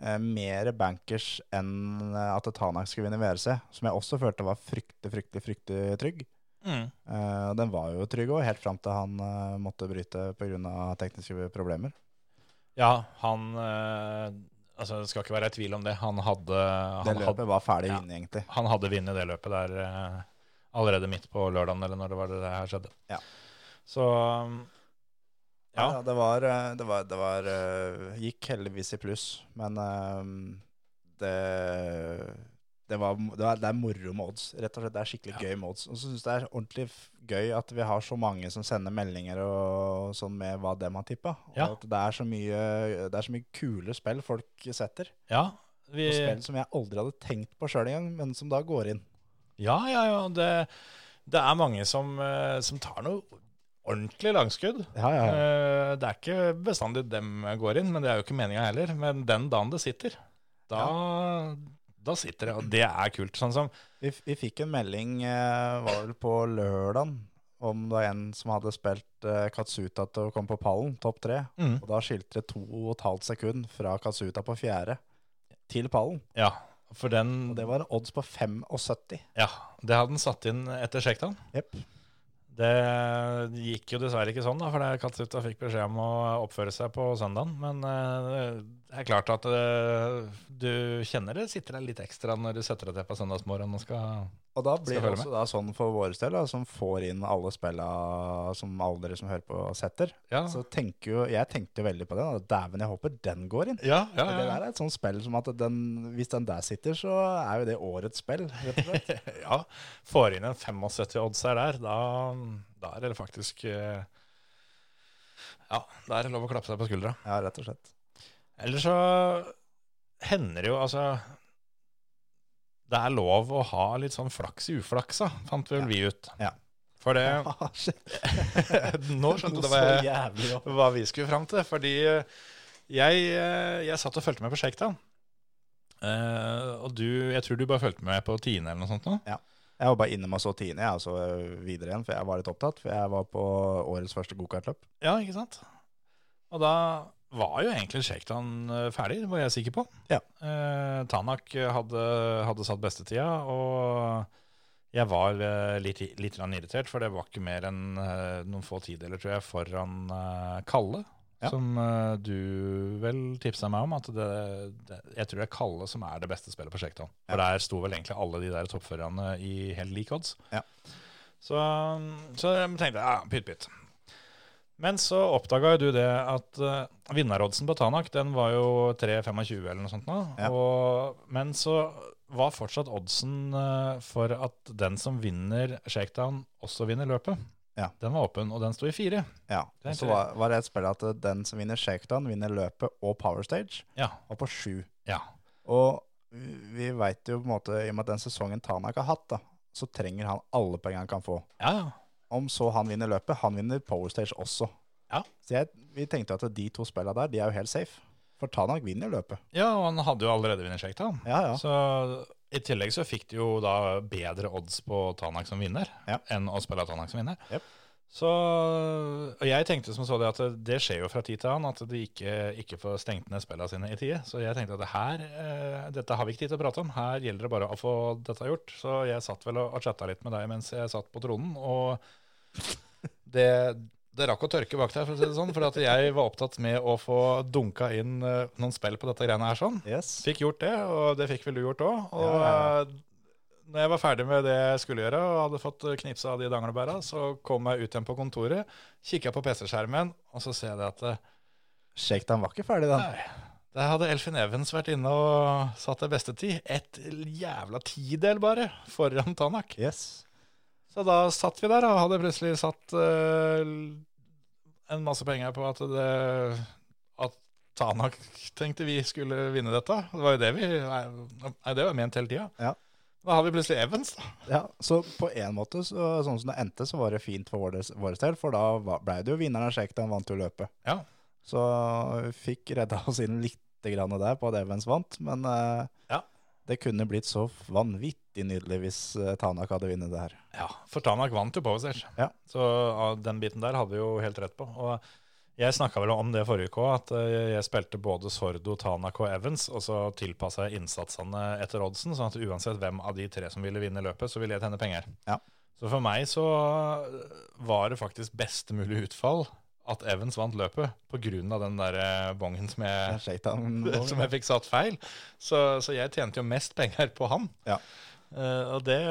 eh, mer bankers enn at Tanak skulle vinne WRC, som jeg også følte var fryktelig, fryktelig, fryktelig trygg.
Mm.
Eh, og den var jo trygg òg, helt fram til han eh, måtte bryte pga. tekniske problemer.
ja han eh, altså, Det skal ikke være i tvil om det. Han hadde,
Det
han hadde,
løpet var ferdig
ja.
vunnet, egentlig.
han hadde vunnet det løpet der eh, allerede midt på lørdagen, eller når det var det her skjedde.
Ja.
Så um,
Ja.
ja.
det var, eh, det var, det var eh, Gikk heldigvis i pluss, men eh, det det, var, det, er, det er moro med odds. rett og slett. Det er skikkelig gøy med odds. Og så syns jeg det er ordentlig f- gøy at vi har så mange som sender meldinger og sånn med hva dem har tippa. Og
Ja.
At det er, så mye, det er så mye kule spill folk setter.
ja vi,
Og spill som jeg aldri hadde tenkt på sjøl engang, men som da går inn.
Ja, ja, ja. Det, det er mange som, eh, som tar noe ordentlig langskudd.
Ja,
Eh, Det er ikke bestandig dem går inn, men det er jo ikke meninga heller. Men den dagen det sitter, da, da sitter det. Og det er kult. Sånn som
Vi, f- vi fikk en melding eh, var vel på lørdagen om det var en som hadde spilt eh, Katsuta til å komme på pallen, topp tre.
Mhm.
Og da skilte det to og et halvt sekund fra Katsuta på fjerde til pallen.
Ja, for den
Og det
det
var en odds på 75.
Ja, det hadde den satt inn etter sjektan.
Jepp.
Det gikk jo dessverre ikke sånn, da, for det Katsuta fikk beskjed om å oppføre seg på søndagen. Men eh, det er klart at eh, du kjenner det sitter deg litt ekstra når du setter deg til på søndagsmorgenen og skal
Og da blir
Skal
det
høre
også da sånn for våre del, da, som får inn alle spilla som alle dere som hører på, setter.
Ja.
Så tenker jo, Jeg tenkte jo veldig på det. da. Dæven, jeg håper den går inn.
Ja, ja,
For Det
ja.
der er et sånt spill som at den, hvis den der sitter, så er jo det årets spill. rett og slett.
ja. Får inn en 75-oddser der, da, da er det faktisk eh, Ja, da er det lov å klappe seg på skuldra.
Ja, rett og slett.
Eller så hender det jo, altså Det er lov å ha litt sånn flaks i uflaksa, fant vel vi ut.
Ja.
For det
Ah, shit,
Nå skjønte du
noe
hva,
så
jeg-
jævlig opp.
hva vi skulle fram til. Fordi jeg, eh, jeg satt og fulgte med på Shakedown. Eh, og du, jeg tror du bare fulgte med på tiende eller noe sånt nå.
Jeg var bare inne med så tiende, jeg, og så øh, videre igjen, for jeg var litt opptatt. For jeg var på årets første gokartløp.
Ja, ikke sant? Og da var jo egentlig Shakedown eh, ferdig, var jeg sikker på.
Ja.
Eh, Tanak hadde, hadde satt bestetida, og jeg var eh, litt, litt grann irritert, for det var ikke mer enn eh, noen få tideler, tror jeg, foran eh, Kalle.
Ja.
Som eh, du vel tipsa meg om, at det, det, jeg tror det er Kalle som er det beste spillet på Shakedown. For der sto vel egentlig alle de der toppførerne i helt lik odds.
Ja.
Så, så jeg tenkte ja, pytt pytt. Men så oppdaga jo du det at eh, vinneroddsen på Tanak den var jo 3,25 eller noe sånt. nå.
Ja.
Og, men så var fortsatt oddsen eh, for at den som vinner shakedown, også vinner løpet.
Ja.
Den var åpen, og den sto i fire.
Ja,
Det er
og så var, var det et spill at eh, den som vinner shakedown, vinner løpet og power stage,
Ja.
og på sju.
ja.
Og vi- vi veit jo på en måte, i og med at den sesongen Tanak har hatt, da, så trenger han alle pengene han kan få.
Ja, ja.
Om så han vinner løpet, han vinner power stage også.
Ja.
Så jeg, vi tenkte at de to spillene der, de er jo helt safe. For Tanak vinner løpet.
ja, og han hadde jo allerede vunnet shakedown.
Ja, ja.
Så i tillegg så fikk de jo da bedre odds på Tanak som vinner
Ja.
enn å spille Tanak som vinner.
Jep.
Så, og jeg tenkte som så det at det skjer jo fra tid til annen at de ikke, ikke får stengt ned spillene sine i tide. Så jeg tenkte at det her, eh, dette har vi ikke tid til å prate om. Her gjelder det bare å få dette gjort. Så jeg satt vel og, og chatta litt med deg mens jeg satt på tronen. Og det, det rakk å tørke bak deg, for å si det sånn. For at jeg var opptatt med å få dunka inn eh, noen spill på dette greiene her sånn.
Yes.
Fikk gjort det, og det fikk vel du gjort òg. Og
Ja, ja,
eh, når jeg var ferdig med det jeg skulle gjøre, og hadde fått knipsa av de danglebæra, så kom jeg ut igjen på kontoret, kikka på PC-skjermen, og så ser jeg det at eh,
Shakedown var ikke ferdig, den.
Nei. der hadde Elfin Evans vært inne og satt det beste tid. Et jævla tidel, bare, foran Tanak.
Yes.
Så da satt vi der, og hadde plutselig satt eh, en masse penger på at, det, at Tanak tenkte vi skulle vinne dette. Det var jo det vi Nei, nei, det var ment hele tida.
Ja.
Da har vi plutselig Evans, da.
Ja, så på en måte, så, sånn som det endte, så var det fint for vår, vår del, for da var- ble det jo vinneren av shakedown, vant jo løpet.
Ja.
Så vi fikk redda oss inn litt grann der på at Evans vant, men eh,
Ja.
det kunne blitt så vanvittig nydelig hvis eh, Tanak hadde vunnet det her.
Ja, for Tanak vant jo Powerstage.
Ja.
Så ja, den biten der hadde vi jo helt rett på. Og jeg snakka vel om det forrige uke òg, at eh, jeg spilte både Sordo, Tanak og Evans, og så tilpassa jeg innsatsene etter oddsen, sånn at uansett hvem av de tre som ville vinne løpet, så ville jeg tjene penger.
Ja.
Så for meg så eh, var det faktisk best mulig utfall at Evans vant løpet, på grunn av den der eh, bongen som jeg,
Shakedown
som jeg fikk satt feil. Så, så jeg tjente jo mest penger på han.
Ja.
Eh, og det,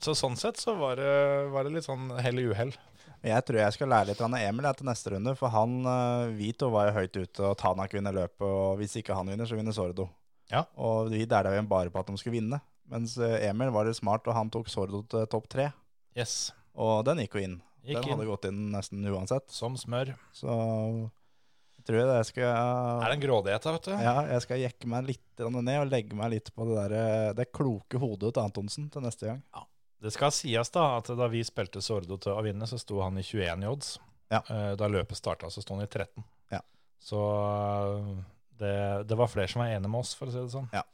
så sånn sett så var det, var det litt sånn hell i uhell.
Men Jeg tror jeg skal lære litt av Emil jeg, til neste runde, for han, eh, vi to var jo høyt ute, og Tanak vinner løpet, og hvis ikke han vinner, så vinner Sordo.
Ja.
Og vi delte jo bare på at de skulle vinne, mens eh, Emil var litt smart, og han tok Sordo til topp tre,
Yes.
og den gikk jo inn.
Gikk
den hadde
inn
gått inn nesten uansett,
som smør.
så jeg tror jeg det skal...
Er det en grådighet da, vet du?
Ja, jeg skal jekke meg litt grann ned og legge meg litt på det, der, eh, det kloke hodet til Antonsen til neste gang.
Det skal sies da at da vi spilte Sordo til å vinne, så sto han i 21 i odds.
Ja.
Eh, Da løpet starta, så sto han i 13.
Ja.
Så eh, det, det var flere som var enige med oss, for å si det sånn.
Ja.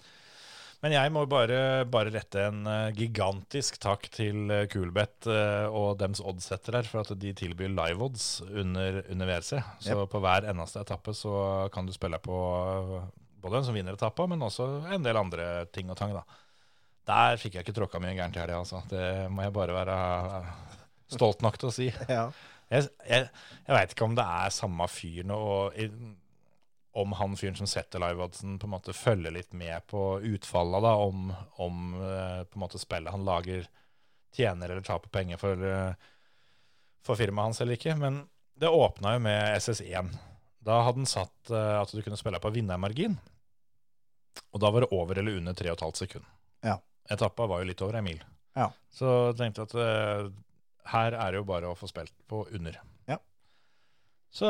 Men jeg må bare, bare rette en eh, gigantisk takk til eh, Coolbet eh, og dems oddsettere her, for at de tilbyr live-odds under, under WRC. Så på hver eneste etappe så kan du spille på eh, både den som vinner etappa, men også en del andre ting og tang, da. Der fikk jeg ikke tråkka mye gærent i helga, altså. Det må jeg bare være stolt nok til å si.
Ja.
Jeg, jeg, jeg veit ikke om det er samme fyren og, og, om han fyren som setter liveoddsen, på en måte følger litt med på utfallet, da, om, om eh, på en måte spillet han lager, tjener eller taper penger for, eh, for firmaet hans eller ikke. Men det åpna jo med SS1. Da hadde den satt eh, at du kunne spille på vinnermargin. Og da var det over eller under 3,5 sekund.
Ja.
Etappa var jo litt over ei mil.
Ja.
Så jeg tenkte at eh, her er det jo bare å få spilt på under.
Ja.
Så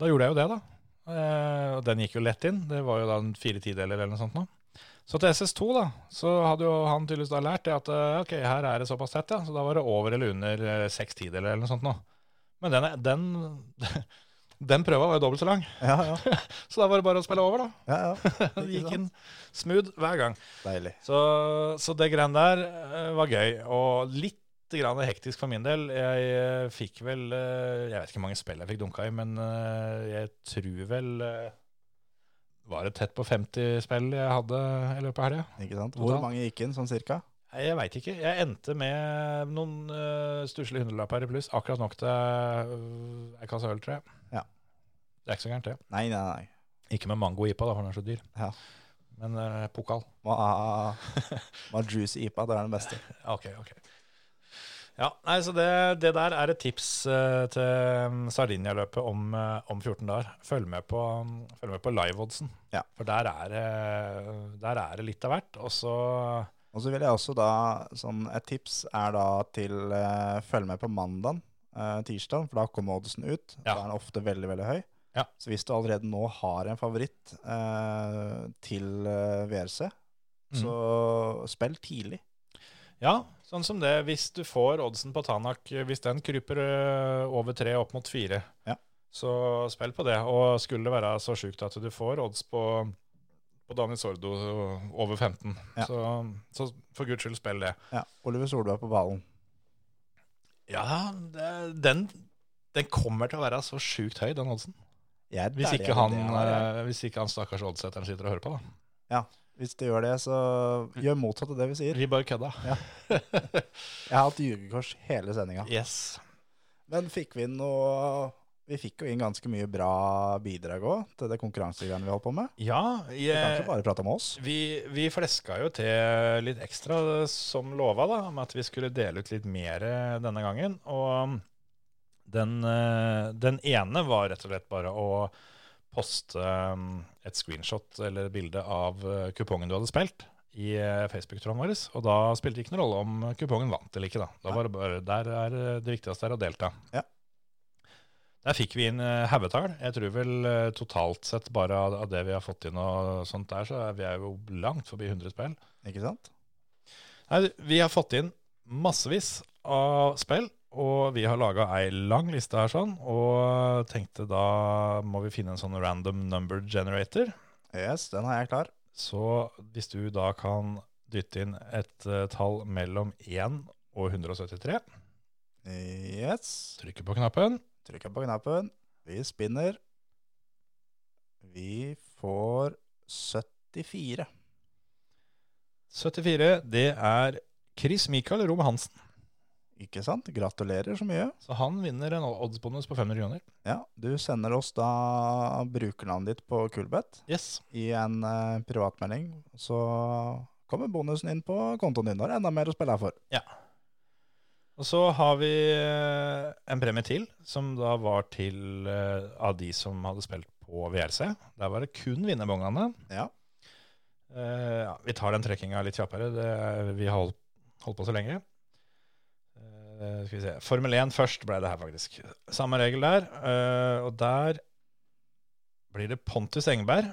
da gjorde jeg jo det, da. Eh, og den gikk jo lett inn. Det var jo da en fire tideler eller noe sånt nå. Så til SS2, da, så hadde jo han tydeligvis da lært det at eh, ok, her er det såpass tett, ja. Så da var det over eller under eh, seks tideler eller noe sånt nå. Men den, er- den, den prøva var jo dobbelt så lang,
Ja, ja.
så da var det bare å spille over, da.
ja, ja.
Det
Ikke
gikk
sant?
inn smooth hver gang.
Deilig.
Så, så det greiene der eh, var gøy, og litt grann hektisk for min del. Jeg eh, fikk vel eh, Jeg vet ikke hvor mange spill jeg fikk dunka i, men eh, jeg tror vel eh, Var det tett på 50 spill jeg hadde i løpet av helga?
Ikke sant?
Total.
Hvor mange gikk inn, sånn cirka?
Nei, Jeg veit ikke. Jeg endte med noen uh, stusslige hundrelapper i pluss. Akkurat nok til eh, ei kasse øl, tror jeg.
Ja.
Det er ikke så gærent, det.
Nei, nei, nei.
Ikke med mango IPA, da, for den er så dyr.
Ja.
Men eh, pokal.
Ma, ma juice IPA, det er den beste.
Ok, ok. Ja, nei, så det, det der er et tips eh, til Sardinia-løpet om, eh, om 14 dager. Følg med på, mm, følg med på live-oddsen.
Ja.
For der er, det- der er det litt av hvert. Og så
Og så vil jeg også da, sånn et tips er da til eh, følg med på mandagen, eh, tirsdag, for da kommer oddsen ut.
Ja.
Da er den ofte veldig, veldig høy.
Ja.
Så hvis du allerede nå har en favoritt eh, til eh, VRC,
Mm.
så spill tidlig.
Ja, sånn som det. Hvis du får oddsen på Tanak, eh, hvis den kryper ø, over tre opp mot fire,
Ja.
så spill på det. Og skulle det være så sjukt at du får odds på, på Dani Sordo eh, over 15,
Ja.
så, så for guds skyld spill det.
Ja, Oliver Solberg på ballen.
Ja, det, den, den kommer til å være så sjukt høy, den oddsen.
Jeg er
Hvis
deilig
ikke
av
han, eh,
det her, jeg.
ø, hvis ikke han stakkars oddsetteren sitter og hører på, da.
Hvis du gjør det, så gjør motsatt av det vi sier.
Vi bare kødda.
Jeg har hatt jugekors hele sendinga.
Yes.
Men fikk vi noe Vi fikk jo inn ganske mye bra bidrag òg, til det konkurransegreiene vi holdt på med.
Ja,
Vi kan
jeg,
ikke bare prate om oss.
Vi, vi fleska jo til litt ekstra eh, som lova, da, om at vi skulle dele ut litt mer eh, denne gangen. Og um, den, eh, den ene var rett og slett bare å poste eh, et screenshot eller et bilde av eh, kupongen du hadde spilt i eh, Facebook-tråden vår. Og da spilte det ikke noen rolle om kupongen vant eller ikke. da. da var det bare, der er eh, det viktigste er å delta.
Ja.
Der fikk vi inn eh, haugetall. Jeg tror vel eh, totalt sett bare av av det vi har fått inn og sånt der, så er vi er jo langt forbi 100 spill.
Ikke sant?
Nei, vi har fått inn massevis av spill, og vi har laga ei lang liste her sånn, og tenkte da må vi finne en sånn random number generator.
Yes, den har jeg klar.
Så hvis du da kan dytte inn et eh, tall mellom 1 og 173,
Yes.
trykke på knappen.
Trykker på knappen. Vi spinner. Vi får 74.
74, det er Chris Michael Rom Hansen.
Ikke sant? Gratulerer så mye.
Så han vinner en oddsbonus på 500 kroner.
Ja, Du sender oss da brukernavnet ditt på Kulbeth
Yes.
i en eh, privatmelding. Så kommer bonusen inn på kontoen din. Da er det enda mer å spille her for.
Og så har vi eh, en premie til, som da var til eh, av de som hadde spilt på VRC. Der var det kun vinnerbongene.
Ja.
Eh, ja, vi tar den trekkinga litt kjappere. Det, er- vi har holdt, holdt på så lenge. Eh, skal vi se. Formel 1 først ble det her, faktisk. Samme regel der. eh, og der blir det Pontus Engberg.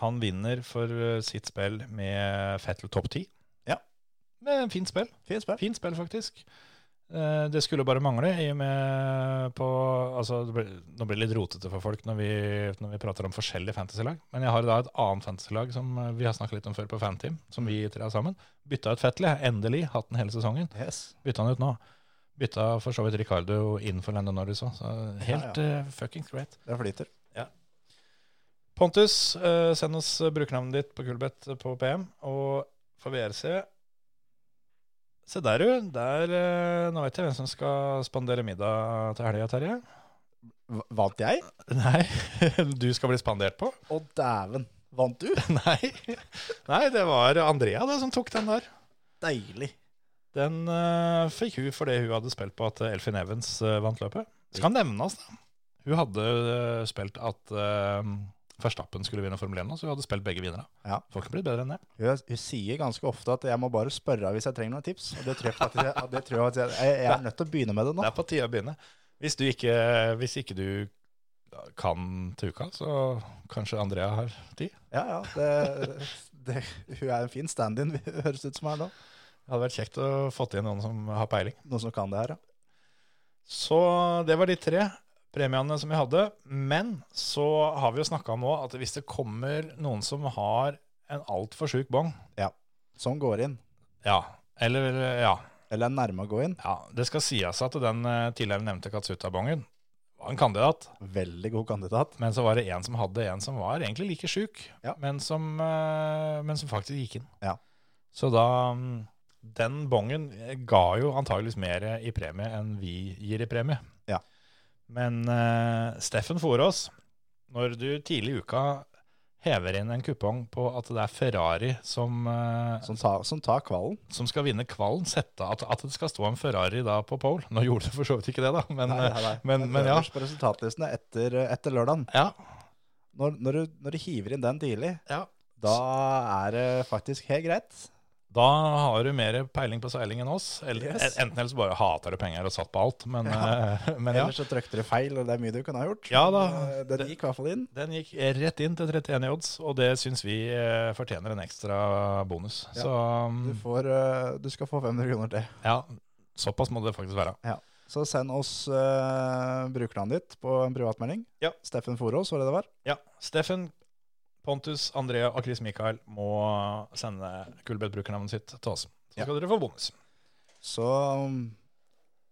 Han vinner for eh, sitt spill med Fettel topp 10.
Ja.
Med fint spill.
Fint spill.
Fint spill, faktisk. Eh, Det skulle bare mangle, i og med på altså, det blir, Nå blir det litt rotete for folk når vi, når vi prater om forskjellige fantasylag, men jeg har da et annet fantasylag som eh, vi har snakket litt om før på Fanteam, som vi tre har sammen. Bytta ut Fettley, endelig. Hatt den hele sesongen.
Yes.
Bytta han ut nå. Bytta for så vidt Ricardo inn for Lando Norris òg, så helt
Ja,
eh, fucking great.
Det flyter.
Pontus, eh, send oss eh, brukernavnet ditt på Kulbeth eh, på PM. Og for VRC Se der, du. Der, eh, nå vet jeg hvem som skal spandere middag til helga, Terje.
V- Vant jeg?
Nei, du skal bli spandert på?
Å, dæven. Vant du?
Nei. Nei, det var Andrea det som tok den der.
Deilig.
Den eh, fikk hun fordi hun hadde spilt på at eh, Elfin Evans eh, vant løpet. Skal nevnes, da. Hun hadde eh, spilt at uh, Verstappen skulle vinne Formel 1, nå, så hun hadde spilt begge vinnere.
Ja.
Får ikke blitt bedre enn det.
Hun, hun sier ganske ofte at jeg må bare spørre hvis jeg trenger noen tips. Og det tror jeg faktisk jeg, det tror jeg, faktisk jeg, jeg er nødt til å begynne med det nå.
Det er på tide å begynne. Hvis du ikke, hvis ikke du kan til uka, så kanskje Andrea har tid.
Ja, ja. Det, det, hun er en fin stand-in, høres det ut som her nå.
Det hadde vært kjekt å få til noen som har peiling.
Noen som kan det her, ja.
Så det var de tre premiene som vi hadde. Men så har vi jo snakka om nå at hvis det kommer noen som har en altfor sjuk bong
Som Sånn går inn.
Ja. Eller, ja.
Eller er nærme å gå inn.
ja. Det skal sies at den eh, tidligere nevnte Katsuta-bongen var en kandidat.
Veldig god kandidat.
Men så var det en som hadde en som var egentlig like sjuk,
Ja.
men, som, eh, men som faktisk gikk inn.
Ja.
Så da mm, Den bongen eh, ga jo antageligvis mer i premie enn vi gir i premie.
Ja.
Men eh, Steffen Forås, når du tidlig i uka hever inn en kupong på at det er Ferrari som, eh,
Som, ta, som tar kvalen.
som skal vinne kvalen, sette at, at det skal stå en Ferrari da på pole Nå gjorde det for så vidt ikke det, da, men, eh,
Nei, nei, nei.
men,
Den
men ja.
øverst På resultatlistene etter, etter lørdagen.
ja.
Når, når, du, når du hiver inn den tidlig,
Ja,
da er det faktisk helt greit.
Da har du mer peiling på seiling enn oss. Eller,
Yes.
Enten eller så bare hater du penger og satt på alt, men ja. Men ja.
Ellers så trykte du feil, og det er mye du kunne ha gjort.
Ja da.
Eh, Den gikk i hvert fall inn.
Den gikk rett inn til 31 i odds, og det syns vi eh, fortjener en ekstra bonus.
Ja.
Så mm,
Du, får, eh, du skal få 500 kroner til.
ja, såpass må det faktisk være.
Så send oss uh, brukernavnet ditt på en privatmelding.
Ja.
Steffen Forås, var det det var?
Ja, Steffen, Pontus, Andrea og Chris Mikael må sende Kulbeth-brukernavnet sitt til oss. Så
Ja.
skal dere få bonus.
Så um,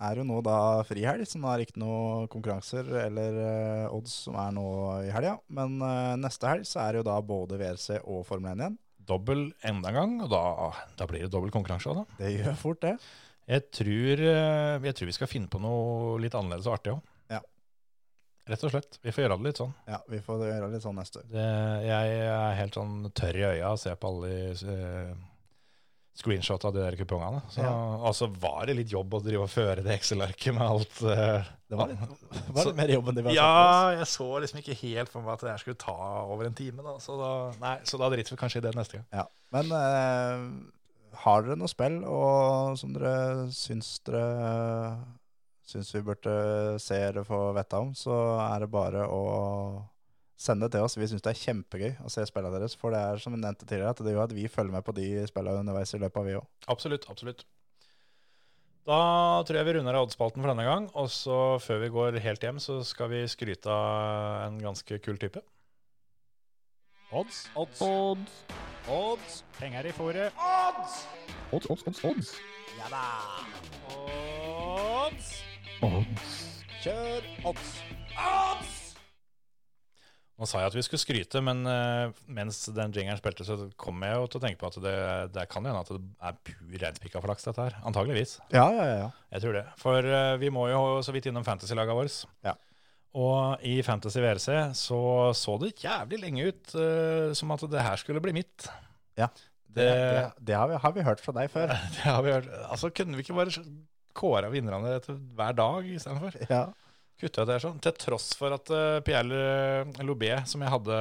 er det nå da frihelg, så nå er det ikke noe konkurranser eller eh, odds som er nå i helga. Men eh, neste helg så er det jo da både WRC og Formel 1 igjen.
Dobbel enda en gang, og da, da blir det dobbel konkurranse. også, Da.
Det gjør fort det.
Jeg tror, eh, jeg tror vi skal finne på noe litt annerledes og artig òg.
Ja.
Rett og slett. Vi får gjøre det litt sånn.
Ja, vi får gjøre litt sånn neste år.
Det, jeg er helt sånn tørr i øya og ser på alle de eh, screenshot av de der kupongene. Så, Og så var det litt jobb å drive og føre det Excel-arket med alt. eh.
Det var litt, var
Så-
litt mer jobb enn det vi har sett for oss.
ja, jeg så liksom ikke helt for meg at det her skulle ta over en time. Da. Så, da, nei, så da driter vi kanskje i det neste gang.
Ja. Men eh, har dere noe spill og, som dere syns dere syns vi burde se eller få vite om, så er det bare å sende det til oss. Vi syns det er kjempegøy å se spillene deres. For det er som vi nevnte tidligere, at det gjør at vi følger med på de spillene underveis i løpet av vi òg.
Absolutt, absolutt. Da tror jeg vi runder av oddspalten for denne gang. Og så før vi går helt hjem, så skal vi skryte av en ganske kul type. Odds. Odds. Odds. Odds. Penger i fôret.
Odds, odds, odds, odds.
Odds!
Kjør odds!
Nå sa jeg at vi skulle skryte, men eh, mens den jingeren spilte, så kom jeg jo til å tenke på at det, det kan hende at det er pur reinspikka flaks, dette her. Antageligvis.
Ja, ja, ja. ja.
Jeg tror det. For eh, vi må jo så vidt innom fantasy-laget vårt.
Ja.
Og i Fantasy VRC så så det jævlig lenge ut eh, som at det her skulle bli mitt.
Det, det, det har, vi, har vi hørt fra deg før.
Det har vi hørt. Altså, kunne vi ikke bare kåra vinnerne etter hver dag istedenfor?
Ja.
Kutta ut det her sånn. Til tross for at eh, Pierre Lobé, som jeg hadde,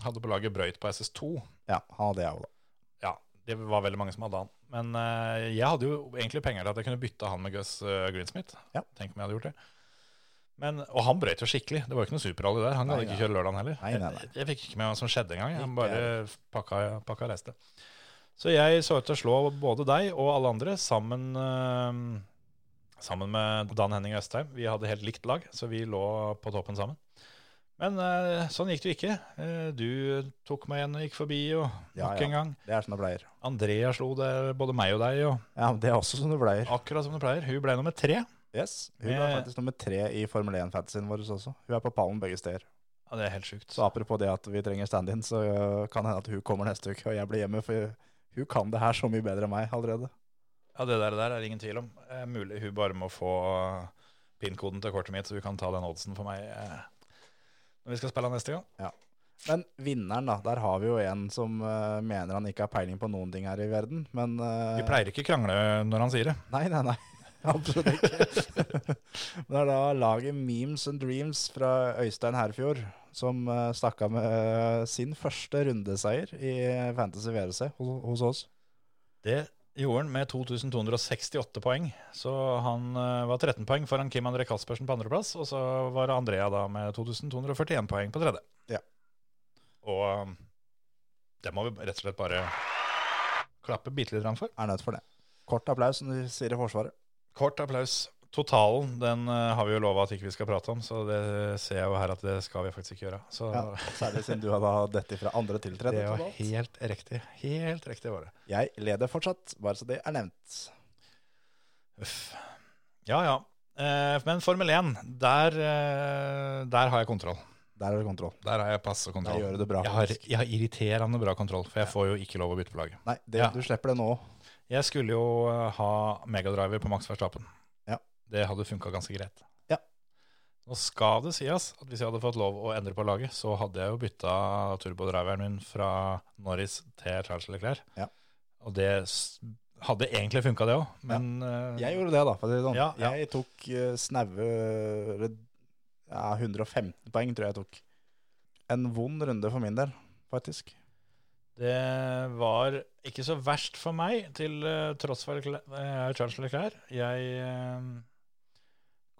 hadde på laget, brøyt på SS2.
ja han hadde jeg òg, da.
Ja, det var veldig mange som hadde han. Men eh, jeg hadde jo egentlig penger til at jeg kunne bytte han med Gus eh, Greensmith.
Ja.
Tenk om jeg hadde gjort det. Men, og han brøyt jo skikkelig. Det var jo ikke noe superrally der. Han
Nei,
gadd ikke
nei.
kjøre lørdagen heller.
Nei, nei, nei.
Jeg, jeg fikk ikke med hva som skjedde engang.
Ikke
Han bare pakka, pakka og reiste. Så jeg så ut til å slå både deg og alle andre sammen, eh, sammen med Dan Henning Østheim. Vi hadde helt likt lag, så vi lå på toppen sammen. Men eh, sånn gikk det jo ikke. Eh, du tok meg igjen og gikk forbi, og
Ja,
nok
ja.
en gang.
Det er som det pleier.
Andrea slo det, både meg og deg, og
Ja, men Det er også som det pleier.
akkurat som det pleier. Hun ble nummer tre.
Yes, Hun er
Med-
faktisk nummer tre i Formel 1-fantasyen vår også. Hun er på pallen begge steder.
Ja, det er helt sjukt.
Så apropos det at vi trenger stand-in, så øh, kan det hende at hun kommer neste uke og jeg blir hjemme. For hun kan det her så mye bedre enn meg allerede.
Ja, det der, det der er ingen tvil om. Eh, mulig hun bare må få PIN-koden til kortet mitt, så du kan ta den oddsen for meg eh, når vi skal spille neste gang.
Men vinneren, da. Der har vi jo en som eh, mener han ikke har peiling på noen ting her i verden, men eh,
Vi pleier ikke krangle når han sier det.
Nei, nei, nei. Absolutt ikke. det er da laget Memes and Dreams fra Øystein Herfjord som eh, stakk av med eh, sin første rundeseier i Fantasy VRC hos, hos oss.
Det gjorde han med 2268 poeng, så han eh, var 13 poeng foran Kim André Kaspersen på andreplass, og så var Andrea da med 2241 poeng på tredje.
Ja.
Og eh, det må vi rett og slett bare klappe bitte litt grann for.
Er nødt for det. Kort applaus, som de sier i Forsvaret.
Kort applaus. Totalen den eh, har vi jo lova at ikke vi skal prate om, så det ser jeg jo her at det skal vi faktisk ikke gjøre. Så
Ja, Særlig siden du har da dette fra andre til
det
tredje.
var
totalt.
helt riktig. Helt riktig var det.
Jeg leder fortsatt, bare så det er nevnt.
Uff. Ja, ja. Eh, men Formel 1, der, eh, der har jeg kontroll.
Der er det kontroll.
Der har jeg pass og
Der
kontroll.
gjør du det bra.
Jeg har,
faktisk.
jeg har irriterende bra kontroll, for jeg får jo ikke lov å bytte på laget.
Nei, det,
Ja.
du slipper det nå.
Jeg skulle jo eh, ha megadriver på Max Verstappen.
Ja.
Det hadde funka ganske greit.
Ja.
Nå skal det sies at hvis jeg hadde fått lov å endre på laget, så hadde jeg jo bytta turbodriveren min fra Norris til Charles Leclerc.
Ja.
Og det s- hadde egentlig funka, det òg, men eh,
Jeg gjorde det, da. For å si det sånn.
Ja, ja.
Jeg tok eh, snaue eller, ja, 115 poeng, tror jeg jeg tok. En vond runde for min del, faktisk.
Det var ikke så verst for meg, til eh, tross for Leclerc- eh, Charles Leclerc. Jeg eh,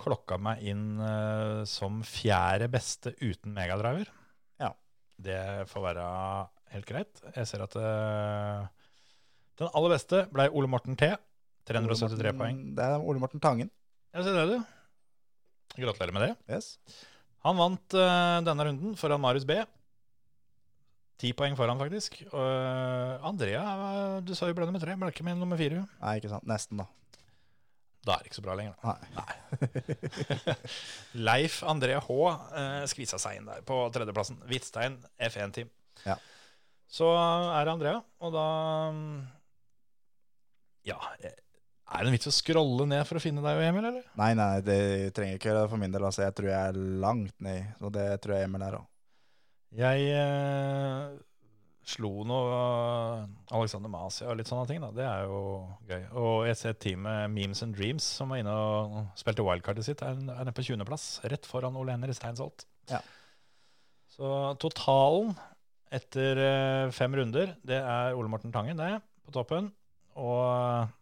klokka meg inn eh, som fjerde beste uten megadriver.
Ja.
Det får være helt greit. Jeg ser at eh, den aller beste ble Ole Morten T. 373
Ole Morten-
poeng.
Det er Ole Morten Tangen.
Jeg ser det, du. Gratulerer med det.
Yes.
Han vant eh, denne runden foran Marius B. Ti poeng foran, faktisk. Og eh, Andrea, eh, du sa jo ble nummer tre. Ble ikke med nummer fire. jo.
Nei, ikke sant. Nesten, da.
Da er det ikke så bra lenger, da.
Nei.
Leif André H eh, skvisa seg inn der på tredjeplassen. Hvitstein F1-team.
Ja.
Så er det Andrea, og da mm, Ja, eh, er det en vits å scrolle ned for å finne deg og Emil, eller?
Nei, nei, det trenger ikke gjøre det for min del. Altså, jeg tror jeg er langt ned, og det tror jeg Emil er òg.
Jeg eh, slo nå eh, Alexander Masia og litt sånne ting, da. Det er jo gøy. Og jeg ser teamet Memes and Dreams, som var inne og spilte wildcardet sitt, er, er nede på 20.-plass. Rett foran Ole Henry Steinsholt.
Ja.
Så totalen etter eh, fem runder, det er Ole Morten Tangen, det, på toppen. Og eh,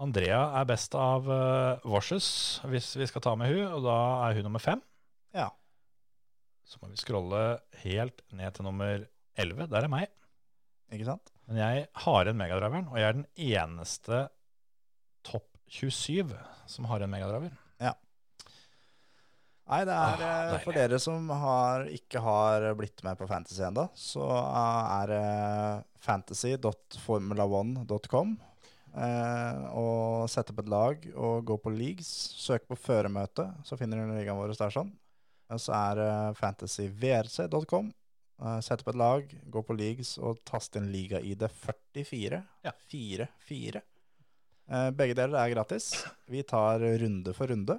Andrea er best av uh, Vorses, hvis vi skal ta med hun, og da er hun nummer fem.
Ja.
Så må vi scrolle helt ned til nummer 11. Der er meg.
Ikke sant?
Men jeg har en megadriveren, og jeg er den eneste topp 27 som har en megadriver.
Nei, det er
Ah,
eh,
deilig.
for dere som har, ikke har blitt med på Fantasy ennå, så eh, er det fantasy.formula1.com. Eh, og sette opp et lag og gå på leagues. Søk på føremøte, så finner dere ligaen vår der. sånn. Og så er eh, det fantasyvrc.com. Eh, sett opp et lag, gå på leagues og tast inn liga-ID 44.
Ja.
4, 4. Eh, begge deler er gratis. Vi tar runde for runde.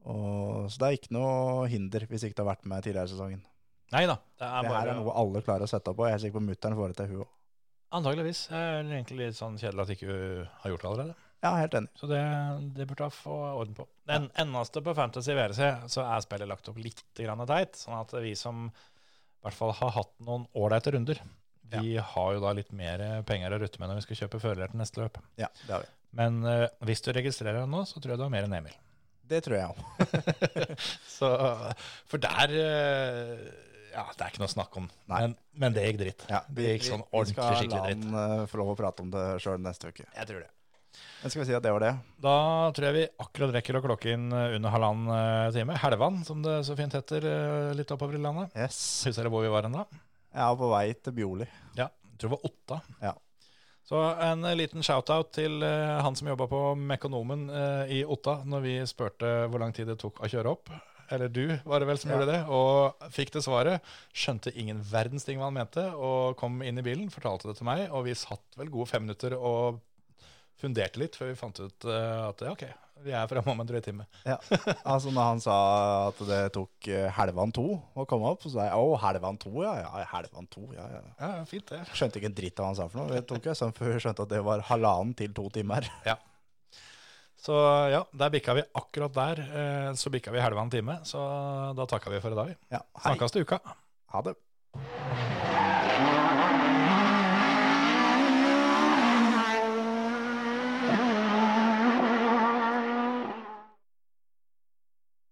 Og, så det er ikke noe hinder hvis ikke det har vært med tidligere i sesongen.
Nei da. Det er
Det her
bare
er noe alle klarer å sette opp, og jeg er sikker på mutter'n får det til hun òg.
Antageligvis. Det er egentlig litt sånn kjedelig at ikke vi har gjort det allerede.
Ja, helt enig.
Så det, det burde jeg få orden på. Den eneste på Fantasy VRC så er spillet lagt opp litt grann teit, sånn at vi som i hvert fall har hatt noen ålreite runder, vi har jo da litt mer penger å rutte med når vi skal kjøpe fører til neste løp.
Ja, Det har vi.
Men eh, hvis du registrerer deg nå, så tror jeg du har mer enn Emil.
Det tror jeg òg.
Så, for der eh, Ja, det er ikke noe å snakke om.
Nei.
Men, men det gikk dritt.
Ja,
det gikk sånn
vi- vi
ordentlig
skal la
skikkelig dritt.
han eh, få lov å prate om det sjøl neste uke.
Jeg tror det.
Men skal vi si at det var det?
Da tror jeg vi akkurat rekker å klokke inn eh, under halvannen eh, time. Helvan, som det så fint heter eh, litt oppover i landet.
Yes.
Husker dere hvor vi var hen da?
Jeg er på vei til Bjoli.
Ja, jeg tror det var Otta.
Ja.
Så en eh, liten shout-out til eh, han som jobba på Mekonomen eh, i Otta når vi spurte hvor lang tid det tok å kjøre opp. Eller du, var det vel, som
Ja.
gjorde det. Og fikk det svaret. Skjønte ingen verdens ting hva han mente, og kom inn i bilen, fortalte det til meg, og vi satt vel gode fem minutter og funderte litt før vi fant ut eh, at ja, OK, Vi er fremme om en drøy time.
Altså når han sa at det tok eh, halvan to å komme opp, så sa jeg å, halvan to, ja, ja, halvan to, ja, ja.
Ja, fint det.
Skjønte ikke en dritt av hva han sa for noe. Det tok jeg sånn før jeg skjønte at det var halvannen til to timer.
Så ja, der bikka vi akkurat der. eh, Så bikka vi halva en time, så da takka vi for i dag.
Ja, hei.
Snakkes til uka.
Ha det.
All